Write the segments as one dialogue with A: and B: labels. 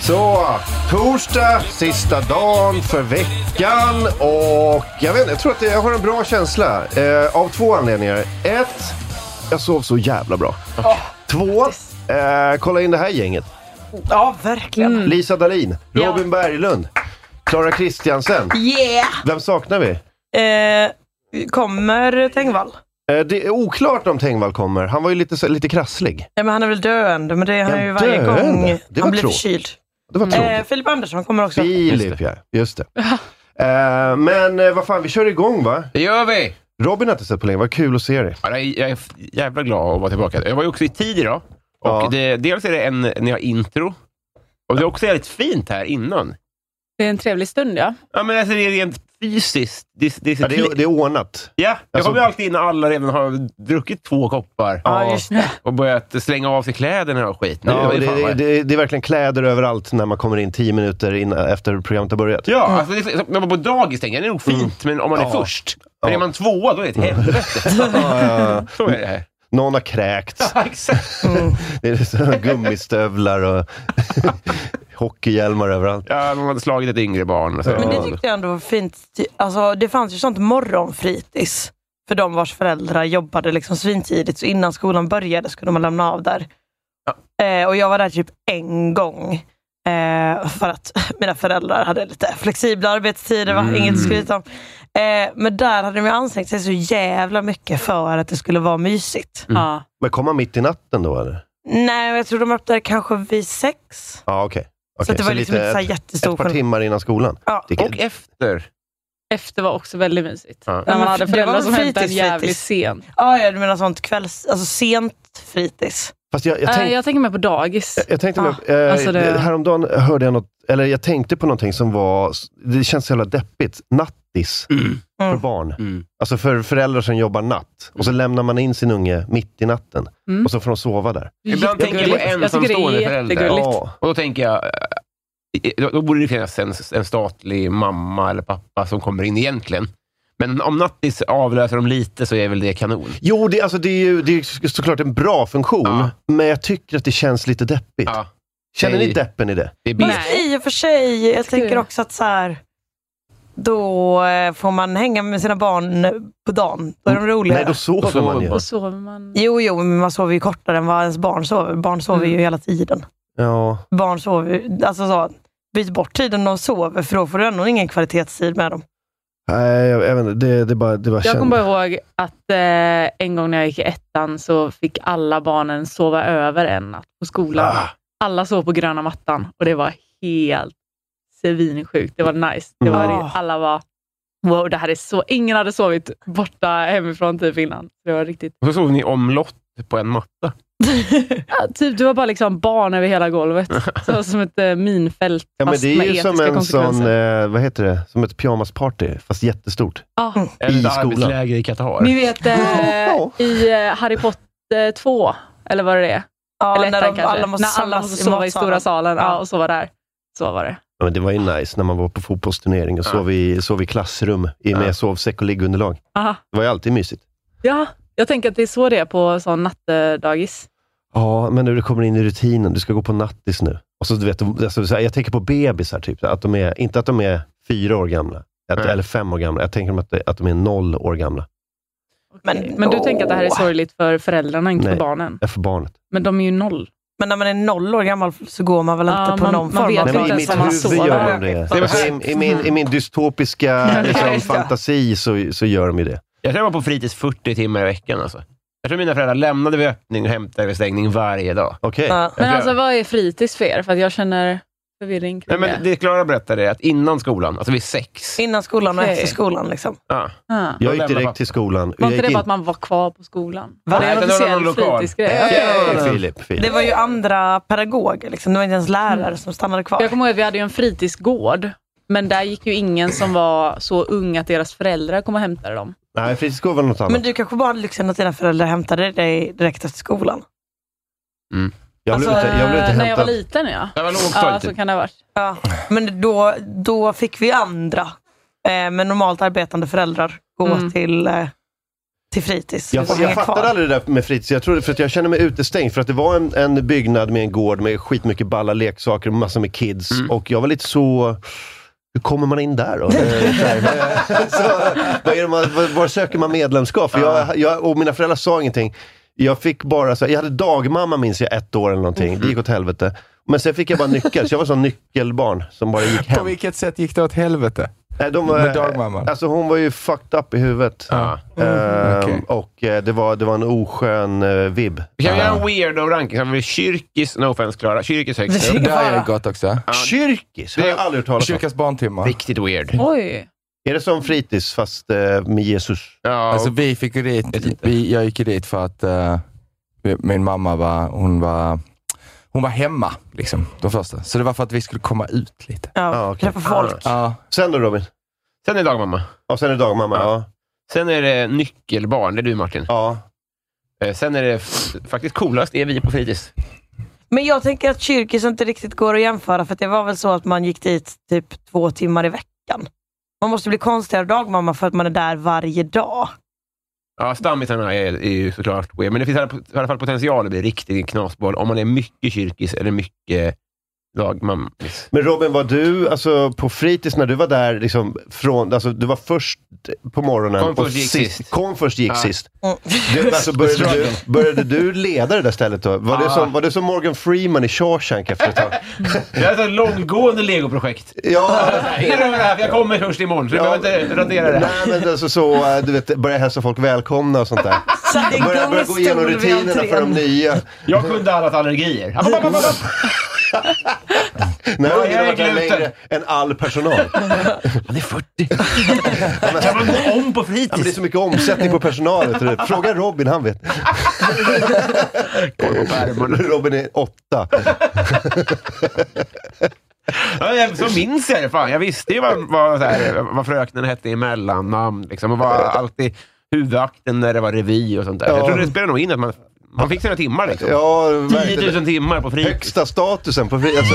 A: Så, torsdag, sista dagen för veckan och jag vet inte, jag tror att det, jag har en bra känsla eh, av två anledningar. Ett, jag sov så jävla bra.
B: Ah,
A: Två, eh, kolla in det här gänget.
B: Ja, verkligen.
A: Lisa Dahlin, Robin Berglund, Klara Kristiansen.
B: Yeah!
A: Vem saknar vi?
B: Eh, kommer Tengvall?
A: Eh, det är oklart om Tengvall kommer. Han var ju lite, så- lite krasslig.
B: Ja, men han är väl döende, men det är han
A: Ja,
B: ju varje
A: döende.
B: gång
A: Det var
B: han blir
A: tråkigt.
B: förkyld.
A: Det var tråkigt.
B: Eh, Filip Andersson kommer också.
A: Filip, ja. Just det. Eh, men eh, vad fan, vi kör igång va?
C: Det gör vi!
A: Robin har inte sett på länge, vad kul att se dig.
C: Ja, Jag är jag är f- jävla glad att vara tillbaka. Jag var ju också i tid idag. Och
A: Ja.
C: det, dels är det en, ni har intro. Och det är också jävligt fint här innan.
D: Det är en trevlig stund, ja.
C: Ja, men alltså, det är rent fysiskt. Det, det, är så
A: Ja, det,
C: kli-
A: är, det är ordnat.
C: ja, jag
A: Alltså-
C: kommer ju alltid in när alla redan har druckit två koppar
B: Ja, just det.
C: och börjat slänga av sig kläderna och skit. Nu,
A: Ja,
C: är
A: det,
C: fan
A: det,
C: vad-
A: det, det är verkligen kläder överallt när man kommer in tio minuter in efter programmet har börjat.
C: Ja, alltså, det är, så- när man på dagis tänker jag det är nog fint, men om man är
A: Mm. Ja.
C: först. Men
A: Ja. Mm.
C: är man tvåa, då är det ett helvete.
A: Ja,
C: Så är det här.
A: Någon har kräkts.
C: Ja, exakt.
A: Det är så gummistövlar och hockeyhjälmar överallt.
C: Ja, man hade slagit ett yngre barn. Och
A: Alltså,
C: så.
B: Men det tyckte jag ändå var fint. Alltså, det fanns ju sånt morgonfritids för de vars föräldrar jobbade liksom svintidigt. Så innan skolan började skulle man lämna av där. Eh, och jag var där typ en gång. Eh, för att mina föräldrar hade lite flexibla arbetstider, va?
A: Mm.
B: inget att skryta om. Eh, men där hade de ju ansträngt sig så jävla mycket för att det skulle vara mysigt.
D: ja.
A: Mm. Men kom man mitt i natten då eller?
B: Nej, jag tror de öppnade kanske vid sex.
A: Ja, okej.
B: Så
A: Okej,
B: att det var liksom inte så här
A: ett,
B: jättestor
A: ett par
B: skillnad.
A: timmar innan skolan.
B: Ja,
A: Det kan-
C: Och efter.
D: Efter var också väldigt mysigt.
C: Ja.
D: När
B: Men
D: man hade
B: det var
D: föräldrar som hämtade en
B: fritids,
D: jävligt
B: fritids.
D: sent.
B: Ja, ja, du menar sånt kvälls... Alltså sent fritids.
A: Fast jag, jag,
D: Jag,
A: tänk,
D: Eh, jag tänker mig på dagis.
A: jag tänkte,
B: Ah,
A: eh,
D: alltså det-
A: häromdagen hörde jag något, eller jag tänkte på någonting som var, det känns så jävla deppigt. Nattis för
B: Mm.
A: barn.
C: Mm.
A: Alltså för föräldrar som jobbar natt. Och så lämnar man in sin unge mitt i natten.
D: Mm.
A: Och så får de sova där.
C: Ibland tänker jag på
D: Jättegulligt. Mm. Jag tycker det
C: ensamstående
D: är
C: föräldrar.
D: jättegulligt.
A: Ja.
C: Och då tänker jag, eh, då, då borde det finnas en, en statlig mamma eller pappa som kommer in egentligen. Men om nattis avlöser dem lite så är väl det kanon.
A: Jo, det, alltså, det är ju det är ju såklart en bra funktion,
C: Ja.
A: men jag tycker att det känns lite deppigt.
C: Ja,
A: Känner ni
C: Nej.
A: deppen i det?
C: det är
B: Fast
C: billigt.
B: i och för sig, jag
D: skulle-
B: tänker också att så här, då eh, får man hänga med sina barn på dagen. Då är de roligare.
A: Mm. Nej, då sover
C: Sover
A: man ju.
C: man.
D: Och sover man...
B: Jo, jo, men man sover ju kortare än vad ens barn sover. Barn sover
D: Mm.
B: ju hela tiden.
A: Ja.
B: Barn sover ju- alltså så, byt bort tiden de sover, för då får du ändå ingen kvalitetstid med dem.
A: Nej, jag, jag vet inte. Det, det bara, det bara
D: Jag
A: känns-
D: kommer bara ihåg att eh, en gång när jag gick i ettan så fick alla barnen sova över en natt på skolan.
A: Ah.
D: Alla sov på gröna mattan och det var helt svinsjukt. Det var nice. Det var,
A: Ah.
B: Mm.
D: Alla var wow, det här är så... Ingen hade sovit borta hemifrån typ innan. Det var riktigt
C: Och så sov ni omlott på en matta.
D: Ja, typ, du var bara liksom barn över hela golvet. Så, som ett eh, minfält,
A: Ja, men
D: fast
A: det
D: med
A: är ju
D: etiska
A: som en sån,
D: konsekvenser.
A: eh, vad heter det, som ett pyjamasparty, fast jättestort.
D: Ja.
C: Eller ett
A: skolan.
C: arbetsläger i Qatar.
D: Ni vet
A: Ja.
D: eh, i eh, Harry Potter 2, eller vad det är?
B: Ja,
D: eller
B: när
D: ettan
B: de,
D: kanske.
B: alla måste
D: när alla
B: samlas
D: måste sova i stora
B: matsalen.
D: salen ja,
B: Ja.
D: och sova där. Så var det.
A: Ja, men det var ju nice när man var på fotbollsturnering och
C: Ja.
A: sov, i, sov i klassrum i, med
C: Ja.
A: sovsäck och liggunderlag.
D: Aha.
A: Det var ju alltid mysigt.
D: Ja, jag tänker att det är så det är på sån nattdagis.
A: Ja, men nu det kommer in i rutinen. Du ska gå på nattis nu. Och så, du vet, alltså, så här, jag tänker på bebisar, typ, att de är, inte att de är fyra år gamla, att,
C: Nej.
A: eller fem år gamla. Jag tänker att, de- att de är noll år gamla.
B: Men-
D: Men du tänker att det här är sorgligt för föräldrarna, inte
A: Nej.
D: för barnen.
A: Ja, För barnet.
D: Men de är ju noll.
B: Men när man är noll år gammal så går man väl
D: Ja,
B: inte på
D: man-
B: någon
D: man
B: form
D: vet
B: av...
D: inte
A: Nej, men I
D: ens
A: mitt
D: vad man
A: huvud
D: sover.
A: gör de det.
D: Nej,
A: Alltså, i, i, min,
D: Mm.
A: I min dystopiska liksom,
B: just det.
A: fantasi så, så gör de ju det.
C: Jag tror jag var på fritids 40 timmar i veckan. Alltså. Jag tror mina föräldrar lämnade vid öppning och hämtade vid stängning varje dag.
A: Okej.
B: Ja.
C: Eh, Jag
D: Men
C: tror-
D: alltså vad är fritids för er? För att jag känner förvirring
C: Nej,
D: kring
C: men
D: det.
C: det Klara berättade är att innan skolan, alltså vid sex,
B: Innan skolan och
D: Okej.
B: efter skolan. Liksom.
C: ja.
D: Ah.
A: Jag
C: De
A: gick
C: lämnar
A: direkt
C: pappa.
A: till skolan.
D: Var
A: Jag
D: inte
A: gick
D: det bara
A: in...
D: att man var kvar på skolan?
B: Var det
C: Nej,
B: en
C: utan det var
B: officiell
C: någon lokal.
D: fritidsgrej?
C: Ja,
A: Hej,
C: ja, ja.
A: Filip, Filip.
B: Det var ju andra pedagoger. Liksom. Det var inte ens lärare som stannade kvar.
D: Mm. Jag kommer ihåg att vi hade ju en fritidsgård, men där gick ju ingen som var så ung att deras föräldrar kom och hämtade dem.
A: Nej, fritidsgård var något annat.
B: Men du kanske bara hade lyxen att dina föräldrar hämtade dig direkt efter skolan?
A: jag, blev
D: Alltså,
A: inte, jag blev inte
D: eh, när jag var
A: hämtad.
D: liten ja.
C: Det var
D: Ja,
C: lågstadiet.
D: så
C: typ.
D: kan det ha varit.
B: Ja. Men då, då fick vi andra eh, med normalt arbetande föräldrar gå
D: Mm.
B: till, eh, till fritids.
A: Jag,
B: och hänga
A: jag fattade
B: kvar.
A: aldrig det där med fritids. Jag trodde, för att jag kände mig utestängd. För att det var en, en byggnad med en gård med skitmycket balla leksaker och massor med kids.
C: Mm.
A: Och jag var lite så... Hur kommer man in där då? Eh, så här, vad- så, vad är det man, vad- var söker man medlemskap? För jag, jag, och mina föräldrar sa ingenting. Jag fick bara så här, jag hade dagmamma minns jag, ett år eller någonting. Det gick åt helvete. Men sen fick jag bara nyckel, så jag var sån nyckelbarn som bara gick
E: På
A: hem.
E: vilket sätt gick det åt helvete?
A: Nej, de, var-
E: Med dagmamman?
A: Alltså hon var ju fucked up i huvudet.
E: Ja. Mm,
A: Ehm,
E: Okej.
A: Och eh, det var, det var en oskön eh, vibb.
C: Vi kan göra en weirdo-ranking. Så har vi Kyrkis, no offense Klara, Kyrkis högst upp.
E: Det har jag gått också.
A: Kyrkis? Det har jag aldrig hört talas om.
E: Kyrkans barntimmar.
C: Riktigt weird.
D: Oj.
A: Är det som fritids fast eh, med Jesus?
C: Ja,
E: Alltså vi fick ju dit,
C: Vet inte.
E: vi, jag gick ju dit för att eh, vi- min mamma var, hon var, hon var hemma liksom, de första. Så det var för att vi skulle komma ut lite.
B: Ja,
A: Ah, okej.
B: Träffa folk.
E: Ja,
A: Sen då Robin?
C: Sen är det dagmamma.
A: Ja, sen är det dagmamma. Ja.
C: Sen är det nyckelbarn, det är du Martin.
A: Ja.
C: Eh, Sen är det f- faktiskt coolast, är vi på fritids.
B: Men jag tänker att kyrkis inte riktigt går att jämföra för att det var väl så att man gick dit typ två timmar i veckan. Man måste bli konstigare dagmamma för att man är där varje dag.
C: Ja, stammisarna är, är ju såklart weird, men det finns i alla- i alla fall potential att bli riktigt knasboll om man är mycket kyrkis eller mycket dagmammis.
A: Men Robin, var du alltså, på fritids när du var där, liksom, från, alltså, du var först på morgonen
C: Kom först,
A: och
C: gick sist.
A: Kom först, gick
C: Ja.
A: sist.
B: Mm.
A: Du, alltså, började, du, började du leda det där stället då? Var, du
C: Ah.
A: som, var du som Morgan Freeman i Shawshank efter ett tag?
C: Det här är ett långgående legoprojekt.
A: Ja,
C: Är det här? Jag kommer först imorgon, så du
A: Ja.
C: behöver inte radera det här.
A: Nej, men alltså så, eh, du vet, börja hälsa folk välkomna och sånt där.
B: Så det
A: Börja, börja gå igenom
B: gungstol vid
A: rutinerna för de
B: entrén.
A: nya.
C: Jag kunde allas allergier. App, app, app, app, app.
A: Nej,
C: Ja,
A: jag
C: jag
A: har
C: är
A: varit där
C: gluten.
A: längre än all personal. Han är 40.
C: Kan man gå om på
A: Ja, men det är
C: fritids?
A: så mycket omsättning på personal. vet du. Fråga Robin, han vet. Robin är åtta.
C: Ja, jag- så minns jag det. Fan. Jag visste ju vad, vad, så här, vad fröknen hette i mellannamn. Liksom, och var alltid huvudakten när det var revy och sånt där.
A: Ja.
C: Jag tror det spelar nog in att man, man fick sina timmar. Liksom.
A: Ja,
C: 10
A: verkligen.
C: 000 timmar på fritids.
A: Högsta statusen på fri... Alltså,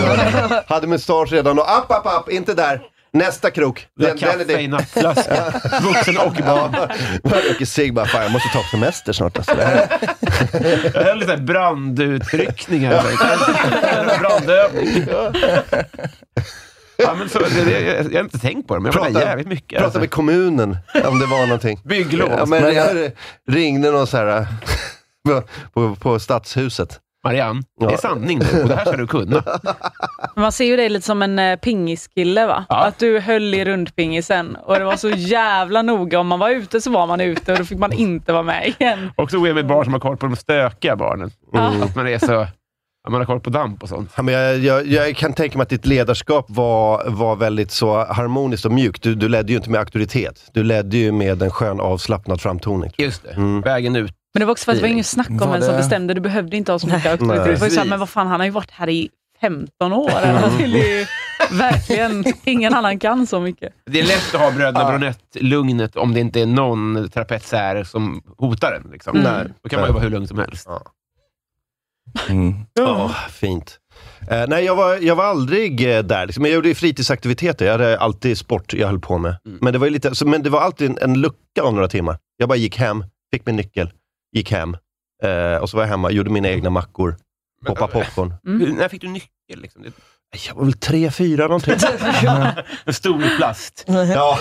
A: hade mustasch redan och app, app, app, inte där. Nästa krok. Den, den är
C: Kaffe i
A: din.
C: nappflaska. Vuxen och barn.
A: Ja, och Sig bara, fan jag måste ta semester snart alltså. Det här-
C: Jag höll lite brandutryckningar. Brandövning. Ja, men så, det, det, jag, jag har inte tänkt på det, men jag var där
A: Prata-
C: jävligt mycket. alltså.
A: Prata med kommunen om det var någonting.
C: Bygglov.
A: Ja, men jag ringde någon så här eh, på, på, på stadshuset.
C: Marianne, det är
A: Ja.
C: sanning nu och det här ska du kunna.
D: Men Man ser ju dig lite som en eh, pingiskille va?
C: Ja.
D: Att du höll i rundpingisen och det var så jävla noga. Om man var ute så var man ute och då fick man inte vara med igen.
C: Också weird med barn som har koll på de stökiga barnen. Mm. Att man är så... Att man har koll på damp och sånt.
A: Ja, men jag, jag, jag kan tänka mig att ditt ledarskap var, var väldigt så harmoniskt och mjukt. Du, du ledde ju inte med auktoritet. Du ledde ju med en skön avslappnad framtoning.
C: Just det.
A: Mm.
C: Vägen ut.
D: Men det var också för att det var ingen snack om
E: Var
D: vem som
E: det-
D: bestämde. Du behövde inte ha så mycket auktoritet.
A: Nej.
D: Det var ju så här, men vad fan, han har ju varit här i 15 år. Han vill ju verkligen, ingen annan kan så mycket.
C: Det är lätt att ha bröderna Bronett-lugnet om det inte är någon trapetsär som hotar en. Liksom.
D: Mm.
C: Då kan man ju vara hur lugn som helst.
E: mm.
A: Ja, fint. Eh, nej, jag var, jag var aldrig eh, där. Liksom. Jag gjorde ju fritidsaktiviteter. Jag hade alltid sport jag höll på med.
C: Mm.
A: Men, det var ju lite, så, men det var alltid en, en lucka om några timmar. Jag bara gick hem, fick min nyckel, gick hem. Eh, och så var jag hemma, gjorde mina egna mackor, poppade popcorn.
C: Hur- Mm. När fick du nyckel? Liksom? Det-
A: Mm. Jag var väl tre, fyra någonting.
C: En stor plast.
A: ja,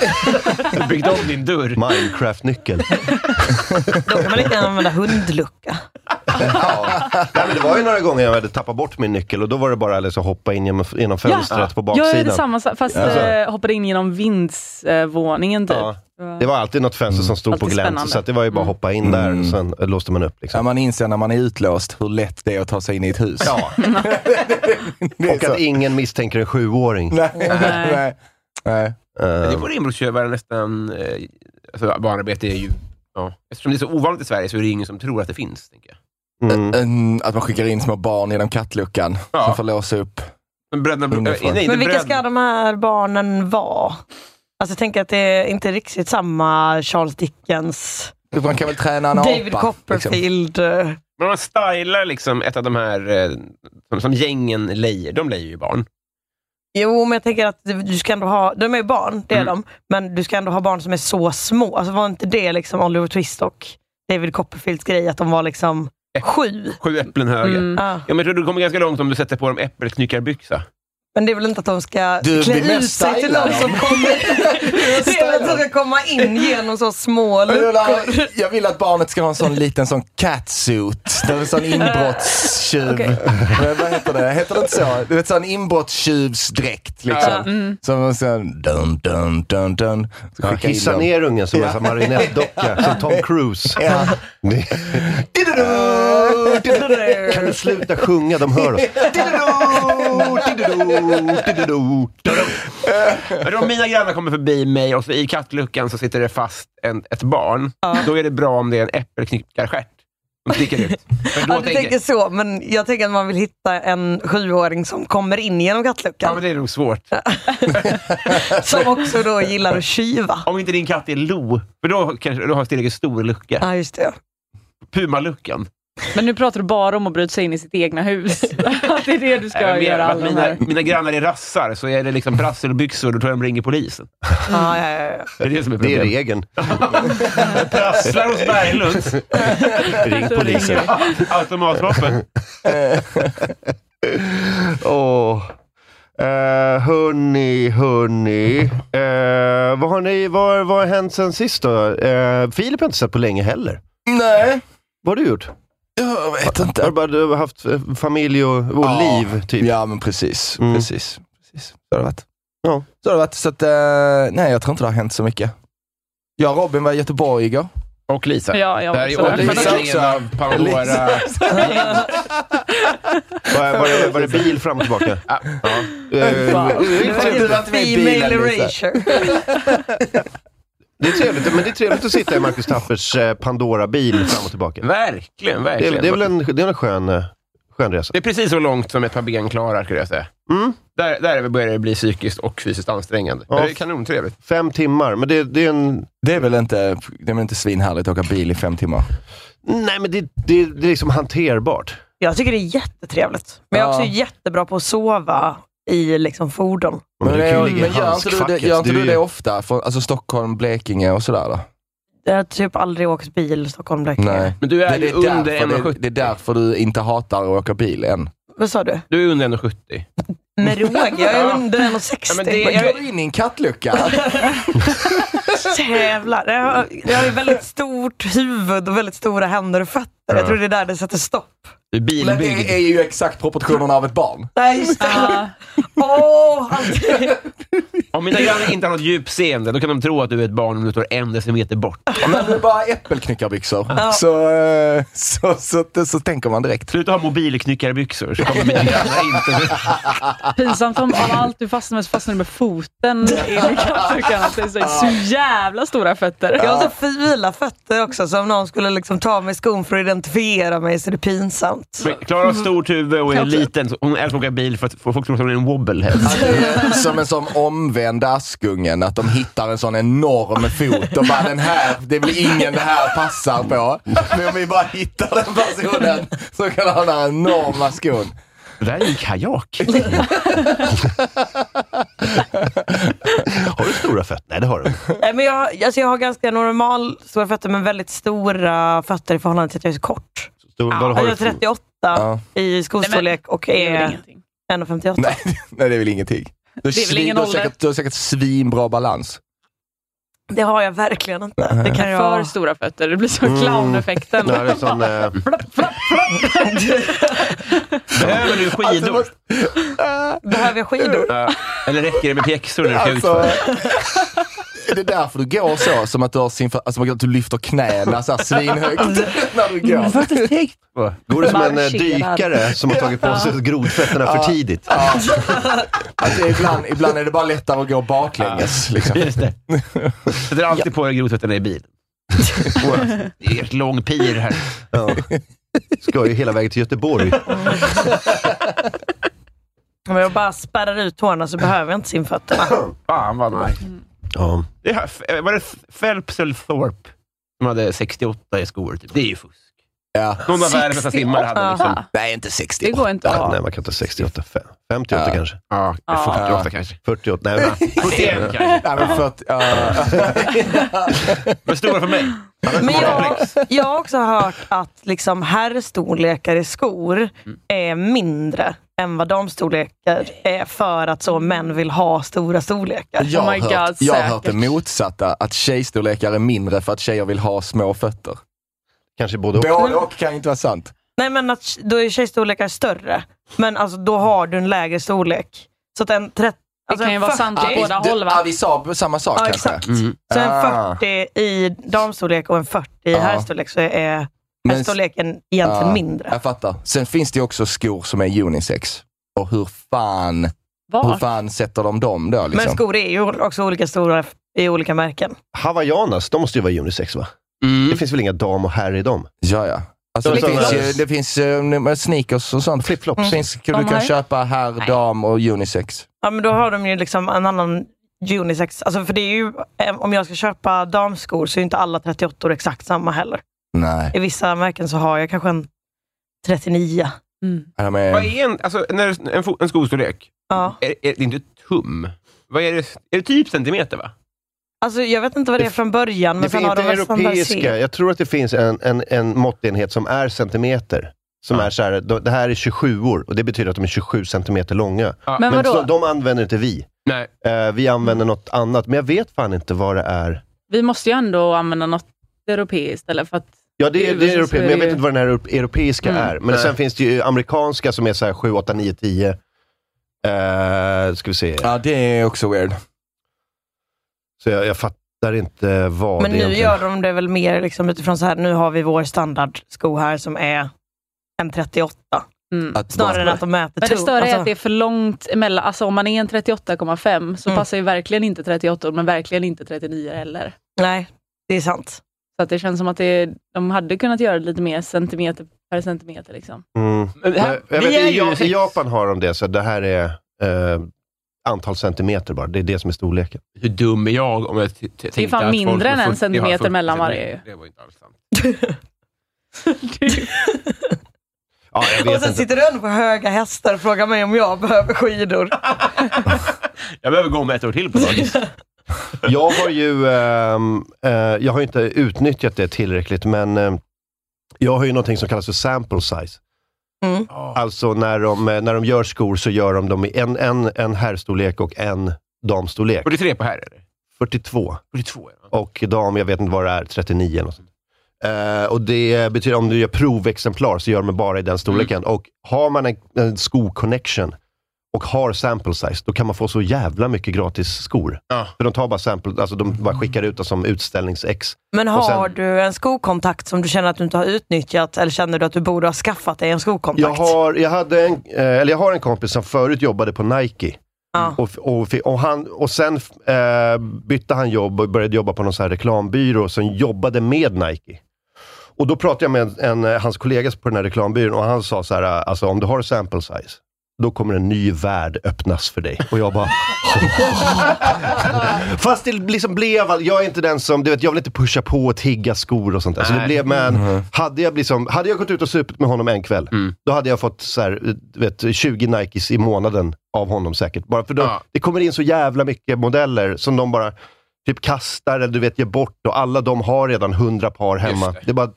C: Du byggde om din dörr.
A: Minecraft-nyckel.
B: Då kan man lika gärna använda hundlucka.
A: Nej, men det var ju några gånger jag hade tappat bort min nyckel och då var det bara att liksom, hoppa in genom, genom fönstret på
D: Jag är
A: baksidan.
D: detsamma, fast
A: Ja.
D: eh, hoppade in genom vindsvåningen typ.
A: Ja. Det var alltid något fönster som stod
D: Alltid
A: på glänt,
D: spännande.
A: så att det var ju bara att hoppa in där
E: Mm.
A: och sen eh, låste man upp.
E: Ja,
A: Liksom.
E: man inser när man är utlåst hur lätt det är att ta sig in i ett hus.
A: Ja.
E: det
A: Och att ingen misstänker en sjuåring.
E: Nej, nej, nej. nej.
C: Det
A: Eh,
C: får inbrottstjuvar nästan... Eh, alltså, barnarbete är ju... Ja. Eftersom det är så ovanligt i Sverige så är det ingen som tror att det finns. Tänker jag.
A: mm.
E: Mm, Att man skickar in små barn genom kattluckan
C: Ja.
E: som får låsa upp.
C: Men bröderna...
E: Underfall.
C: eh, nej,
B: Men
C: det
B: vilka
C: bröd-
B: ska de här barnen vara? Alltså jag tänker att det är inte riktigt samma Charles Dickens,
E: Man kan väl träna en
B: David
E: apa. liksom.
B: Copperfield. eh,
C: Men om man stylar liksom ett av de här eh, som, som gängen lejer. De lejer ju barn.
B: Jo, men jag tänker att du ska ändå ha, de är ju barn, det är
C: Mm.
B: de, men du ska ändå ha barn som är så små. Alltså var inte det liksom Oliver Twist och David Copperfields grej, att de var liksom
C: Ett.
B: sju?
C: Sju äpplen höger.
D: Mm.
B: Ja.
C: Ja, men jag tror du kommer ganska långt om du sätter på dem äppelknyckarbyxa.
B: Men det är väl inte att de ska
E: Du
B: klä
E: blir mest
B: ut sig till
E: stylad.
B: någon som kommer Det är väl att de ska komma in genom så små
E: Jag vill, ha,
B: luckor.
E: jag vill att barnet ska ha en sån liten sån catsuit. Det är en sån inbrottstjuv.
B: Okej.
E: Men Vad heter det? Heter det inte så? Du vet sån inbrottstjuvsdräkt liksom.
D: mm.
E: Som sen dun dun dun dun. Så
A: Ja,
E: skicka in
A: hissa
E: dem.
A: ner ungen som en sån marionettdocka, som Tom Cruise.
E: Ja.
A: Dididu, dididu. Kan du sluta sjunga? De hör oss.
E: Oh,
A: Dididu, dididu, dididu.
C: Men om mina grannar kommer förbi mig och så i kattluckan så sitter det fast en, ett barn. Då är det bra om det är en äppelknyckarstjärt som sticker ut. För då
B: Ja, du
C: tänker,
B: tänker så, men jag tänker att man vill hitta en sjuåring som kommer in genom
C: ja, men
B: kattluckan.
C: det är nog svårt.
B: Som också då gillar att tjuva.
C: Om inte din katt är Lo, för då, kanske, då har Stillege stor lucka.
B: Ja, just det.
C: Pumaluckan.
D: Men nu pratar du bara om att bryta sig in i sitt egna hus. Att det är det du ska
C: Även mer
D: göra.
C: att
D: Alla de
C: mina,
D: här.
C: mina grannar är rassar, så är det liksom prasselbyxor, då tror jag de ringer polisen.
B: Ja, ja, ja, ja.
C: Det är det som är
A: Det är
C: problemet.
A: regeln.
C: Prasslar hos Berglunds.
A: Ring
D: Så
A: polisen.
D: ringer vi.
C: Automatvapen.
A: Åh. Eh, hörni, hörni. Eh, vad, har ni, vad, vad har hänt sen sist då? Eh, Filip har inte sett på länge heller.
E: Nej,
A: Vad har du gjort?
E: jag vet
A: Har du
E: inte.
A: bara du har haft eh, familj och, och
E: Ja.
A: liv? Typ.
E: Ja men precis.
A: Mm.
E: precis. precis. Så har det varit.
A: Ja.
E: Så har det varit. Så att, eh, nej jag tror inte det har hänt så mycket. Jag och Robin var i Göteborg igår.
C: Och Lisa.
D: Ja, jag
C: det här
D: också.
C: är
E: Lisa
C: återföreningen
E: också.
C: av Pandora.
E: Lisa.
A: Var, var, det, var det bil fram och tillbaka?
C: Ja.
A: Eh,
E: Det var tur att vi är i
B: Female
E: bilen, Lisa.
B: erasure.
A: det, är trevligt, men det är trevligt att sitta i Marcus Tappers eh, Pandora-bil fram och tillbaka.
C: Verkligen,
A: Det är,
C: verkligen.
A: det är väl en, det är en skön, eh, skön resa.
C: Det är precis så långt som ett par ben klarar, skulle jag säga.
A: Mm.
C: Där, där börjar det bli psykiskt och fysiskt ansträngande.
A: Ja.
C: Men det är kanontrevligt.
A: Fem timmar, men det, det är en...
E: Det är väl inte, det är väl inte svinhärligt att åka bil i fem timmar?
A: Nej, men det, det, det är liksom hanterbart.
B: Jag tycker det är jättetrevligt. Men jag är också
E: Ja.
B: jättebra på att sova i liksom fordon.
E: Men,
A: du kan ju
E: men, gör
A: ligga i
E: inte du det,
A: handskfacket.
E: gör inte
A: Du är
E: du
A: ju-
E: det ofta? För, alltså Stockholm, Blekinge och sådär? Då?
B: Jag har typ aldrig åkt bil i Stockholm, Blekinge.
E: Nej.
C: Men du är, ju under
E: därför, det,
C: 1,70.
E: det är därför du inte hatar att åka bil än.
B: Vad sa du?
C: Du är under 1,70.
B: Med råge. Jag är
C: Ja.
B: under
C: Ja,
B: 1,60.
C: men det-
E: Men går du in i en kattlucka?
B: Jävlar. Jag har, jag har ju väldigt stort huvud och väldigt stora händer och fötter. Jag tror det är där det sätter stopp.
C: Du är
E: Men
C: bilbyggd.
E: det är ju exakt proportionerna av ett barn.
B: Nej, just
D: Ja.
B: Åh, alltid.
C: Om mina grannar inte har något djupseende, då kan de tro att du är ett barn om du står en decimeter bort.
E: Om du bara har äppelknyckarbyxor
B: Ja.
E: så, eh, så, så, så, så tänker man direkt.
C: Sluta ha mobilknyckarbyxor, så kommer mina grannar inte...
D: Pinsamt om av allt du fastnar med så fastnar du med foten i kattluckan. Att det är så, så jävla stora fötter.
B: Jag har så fula fötter också, så om någon skulle liksom ta mig i skon för att identifiera mig så är det pinsamt.
C: Men Klara har stort huvud och är liten. så Hon älskar att åka bil för att folk tror att hon är en wobblehead.
E: Att det är Alltså, Som en sån omvänd Askungen, att de hittar en sån enorm fot och bara den här, det blir ingen det här passar på. Men om vi bara hittar den personen som kan ha den här enorma skon.
C: Det där är en kajak.
A: Har du stora fötter? Nej, det har du inte.
B: Nej, men jag, alltså jag har ganska normal stora fötter, men väldigt stora fötter i förhållande till att jag är så kort.
A: Stor- vad har
B: Jag
A: du
B: är
A: för-
B: 38
E: Ja.
B: i skostorlek och
D: Det är väl
B: är
D: ingenting.
B: 1,58.
E: Nej, nej, det är väl ingenting. Du,
D: Det är väl
E: svin-
D: ingen
E: du, har
D: ålder.
E: säkert, du har säkert svinbra balans.
B: Det har jag verkligen inte. Det kan jag...
D: För stora fötter, det blir så
E: Mm.
D: clowneffekten.
A: Ja, det är sån, eh,
C: Behöver du
E: Alltså,
C: skidor?
B: Behöver jag skidor?
C: Eh, Eller räcker det med pjäxor när du ska
E: Alltså,
C: utför?
E: är det därför du går så? Som att du, har sin, alltså, att du lyfter knäna
C: Alltså,
E: så här svinhögt
A: Alltså,
E: när du går?
A: Går det som en eh,
B: Marscherar.
A: dykare som har tagit på sig grodfötterna för tidigt?
E: Ja. Att det är ibland, ibland är det bara lättare att gå baklänges. Liksom.
C: Just det. Sätter alltid på dig grodfötterna i bilen. Det är ett lång pir här.
A: Ja. Ska ju hela vägen till Göteborg.
B: Om jag bara spärrar ut tårna så behöver jag inte simfötterna.
C: Fan vad nice.
D: Mm.
A: Ja.
C: Det här, f- var det Phelps eller Thorpe som hade 68 i skor? Typ. Det är ju fusk.
E: Ja.
C: Någon av världens bästa simmare hade liksom...
D: Aha.
E: Nej, inte 60
D: Det går inte att
A: Ja. Nej,
D: ha.
A: man kan ta 68. Fe- 58
E: Ja.
A: kanske.
C: Ja,
D: Ja.
C: 48 kanske.
A: 48. Nej, men,
C: 71 kanske.
E: Nej, men för att, ja.
C: Men stora för mig.
B: Men jag, jag har också hört att liksom herrstorlekar i skor
D: Mm.
B: är mindre än vad damstorlekar är för att så män vill ha stora storlekar.
E: jag,
D: Oh
E: har
D: my
E: hört,
D: God,
E: jag har
D: säkert.
E: hört det motsatta, att tjejstorlekar är mindre för att tjejer vill ha små fötter.
A: kanske både och.
E: Både och kan ju inte vara sant.
B: Nej men att, då är tjejstorlekar större, men alltså, då har du en lägre storlek. Så att en 30
D: Det
B: alltså
D: kan ju
B: en
D: vara
B: 40
D: sant åt båda
E: Du,
D: håll
E: ja,
D: va?
E: vi sa samma sak
B: Ja,
E: kanske.
B: exakt.
C: Mm.
B: Så en
E: Ah.
B: 40 i damstorlek och en 40 i
E: Ja.
B: herrstorlek så är
E: Men-
B: herrstorleken egentligen
E: Ja,
B: mindre.
E: Ah, Jag fattar. Sen finns det ju också skor som är unisex. Och hur fan, hur
D: Var?
E: fan sätter de dem då? Liksom?
B: Men skor är ju också olika stora i olika märken.
A: Hawaiianas, de måste ju vara unisex va? Det
C: Mm.
A: finns väl inga dam och herr i dem?
E: Ja, ja. Alltså,
A: De
E: det,
A: som
E: finns
A: är-
E: ju, det finns eh, sneakers och sånt. Flipflops.
A: Mm.
E: Finns, du
D: De
E: kan
D: här?
E: köpa herr, dam och unisex.
B: Ja, men då har de ju liksom en annan unisex. Alltså, för det är ju, eh, om jag ska köpa damskor så är ju inte alla 38 or exakt samma heller.
E: Nej.
B: I vissa märken så har jag kanske en 39.
D: Mm.
E: De
C: Vad
E: är,
C: är en, alltså, när en, fo- en skostorlek?
B: Ja.
C: Är, är det är inte tum? Vad är det? Är det typ centimeter, va?
B: Alltså, jag vet inte vad det är från början, men
A: det
B: sen
A: finns
B: har
A: inte
B: de väl standardiserat.
A: europeiska. Jag tror att det finns en, en, en måttenhet som är centimeter. Som är så här, då- det här är 27 år och det betyder att de är 27 centimeter långa.
D: Men
A: Men så,
D: vadå?
A: de använder inte vi.
C: Nej.
A: Eh, vi använder något annat, men jag vet fan inte vad det är.
D: Vi måste ju ändå använda något europeiskt eller för att
A: Ja, det,
D: I
A: är- det är
D: USA
A: europeiskt,
D: är
A: men jag
D: det
A: vet
D: ju-
A: inte vad den här europ- europeiska
D: Mm.
A: är. Men
C: Nej.
A: sen finns det ju amerikanska som är så här 7, 8, 9, 10. Uh, ska vi se.
E: ja, det är också weird.
A: Så jag, jag fattar inte vad
B: Men
A: det
B: nu
A: egentligen-
B: gör de det väl mer liksom, utifrån så här, nu har vi vår standardsko här som är en 38.
D: mm.
E: Att
B: Snarare än
E: bara,
B: att de mäter
D: Men det
B: tum.
D: större är
B: Alltså,
D: att det är för långt emellan. Alltså om man är en 38,5 så
B: Mm.
D: passar ju verkligen inte 38 men verkligen inte 39 heller.
B: Nej, det är sant.
D: Så att det känns som att det, de hade kunnat göra det lite mer centimeter per centimeter. Liksom.
A: Mm.
C: Men det här-
A: Men jag
C: vi
A: vet,
C: är
A: i,
C: ju
A: Ja-
C: sex.
A: I Japan har de det, så det här är eh, antal centimeter bara. Det är det som är storleken.
C: Hur dum är jag om jag t- t- tänkte
D: fan
C: att
D: mindre
C: folk
D: än
C: med
D: en
C: 40 har
D: centimeter
C: 40
D: mellan varje.
C: centimeter. Det var inte alls sant.
A: Ja, jag
B: Och
A: vet
B: sen
A: inte.
B: sitter du ändå på höga hästar och frågar mig om jag behöver skidor.
C: Jag behöver gå med ett år till på dagis.
A: Jag har ju ehm, eh, jag har ju inte utnyttjat det tillräckligt, men eh, jag har ju någonting som kallas för sample size.
B: Mm.
A: Alltså när de, eh, när de gör skor så gör de dem i en, en, en herrstorlek och en damstorlek.
C: 43 på här, eller?
A: 42.
C: 42, ja.
A: Och dam, jag vet inte vad det är, 39 eller något sånt. Eh, och det betyder om du gör provexemplar så gör de bara i den storleken. Och har man en, en sko-connection och har sample size, då kan man få så jävla mycket gratis skor.
C: Ja.
A: För de tar bara sample, alltså de bara skickar ut dem som utställningsex.
B: Men
A: Och sen-
B: har du en skokontakt som du känner att du inte har utnyttjat eller känner du att du borde ha skaffat dig en
A: Jag
B: skokontakt?
A: har, jag, hade en, eh, eller jag har en kompis som förut jobbade på Nike.
B: Ja.
A: Och, och, och, han, och sen eh, bytte han jobb och började jobba på någon sån här reklambyrå som jobbade med Nike. Och då pratade jag med en, en, eh, hans kollega på den här reklambyrån och han sa så här, eh, alltså om du har sample size, då kommer en ny värld öppnas för dig. Och jag bara... Fast det liksom blev, all- jag är inte den som, du vet, jag vill inte pusha på och tigga skor och sånt där. Så det
C: Nej.
A: blev, men hade jag, liksom, hade jag gått ut och supit med honom en kväll,
C: Mm.
A: då hade jag fått så här, du vet, 20 Nikes i månaden av honom säkert. Bara för då,
C: Ja.
A: det kommer in så jävla mycket modeller som de bara typ kastar eller du vet, ger bort och alla de har redan 100 par hemma.
C: Just
A: Det.
C: det.
A: är bara,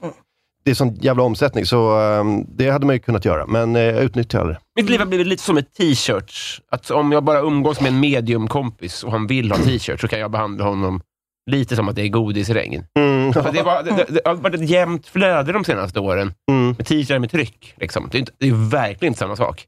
A: det är sån jävla omsättning, så ehm, det hade man ju kunnat göra, men eh, jag utnyttjar aldrig det.
C: Mitt liv har blivit lite som ett t-shirt. Att om jag bara umgås med en mediumkompis och han vill ha t-shirt så kan jag behandla honom lite som att det är godisregn.
A: Mm.
C: För det, är bara, det, det, det har varit ett jämnt flöde de senaste åren.
A: Mm.
C: Med t-shirtar med tryck. Liksom. Det, är inte, det är verkligen inte samma sak.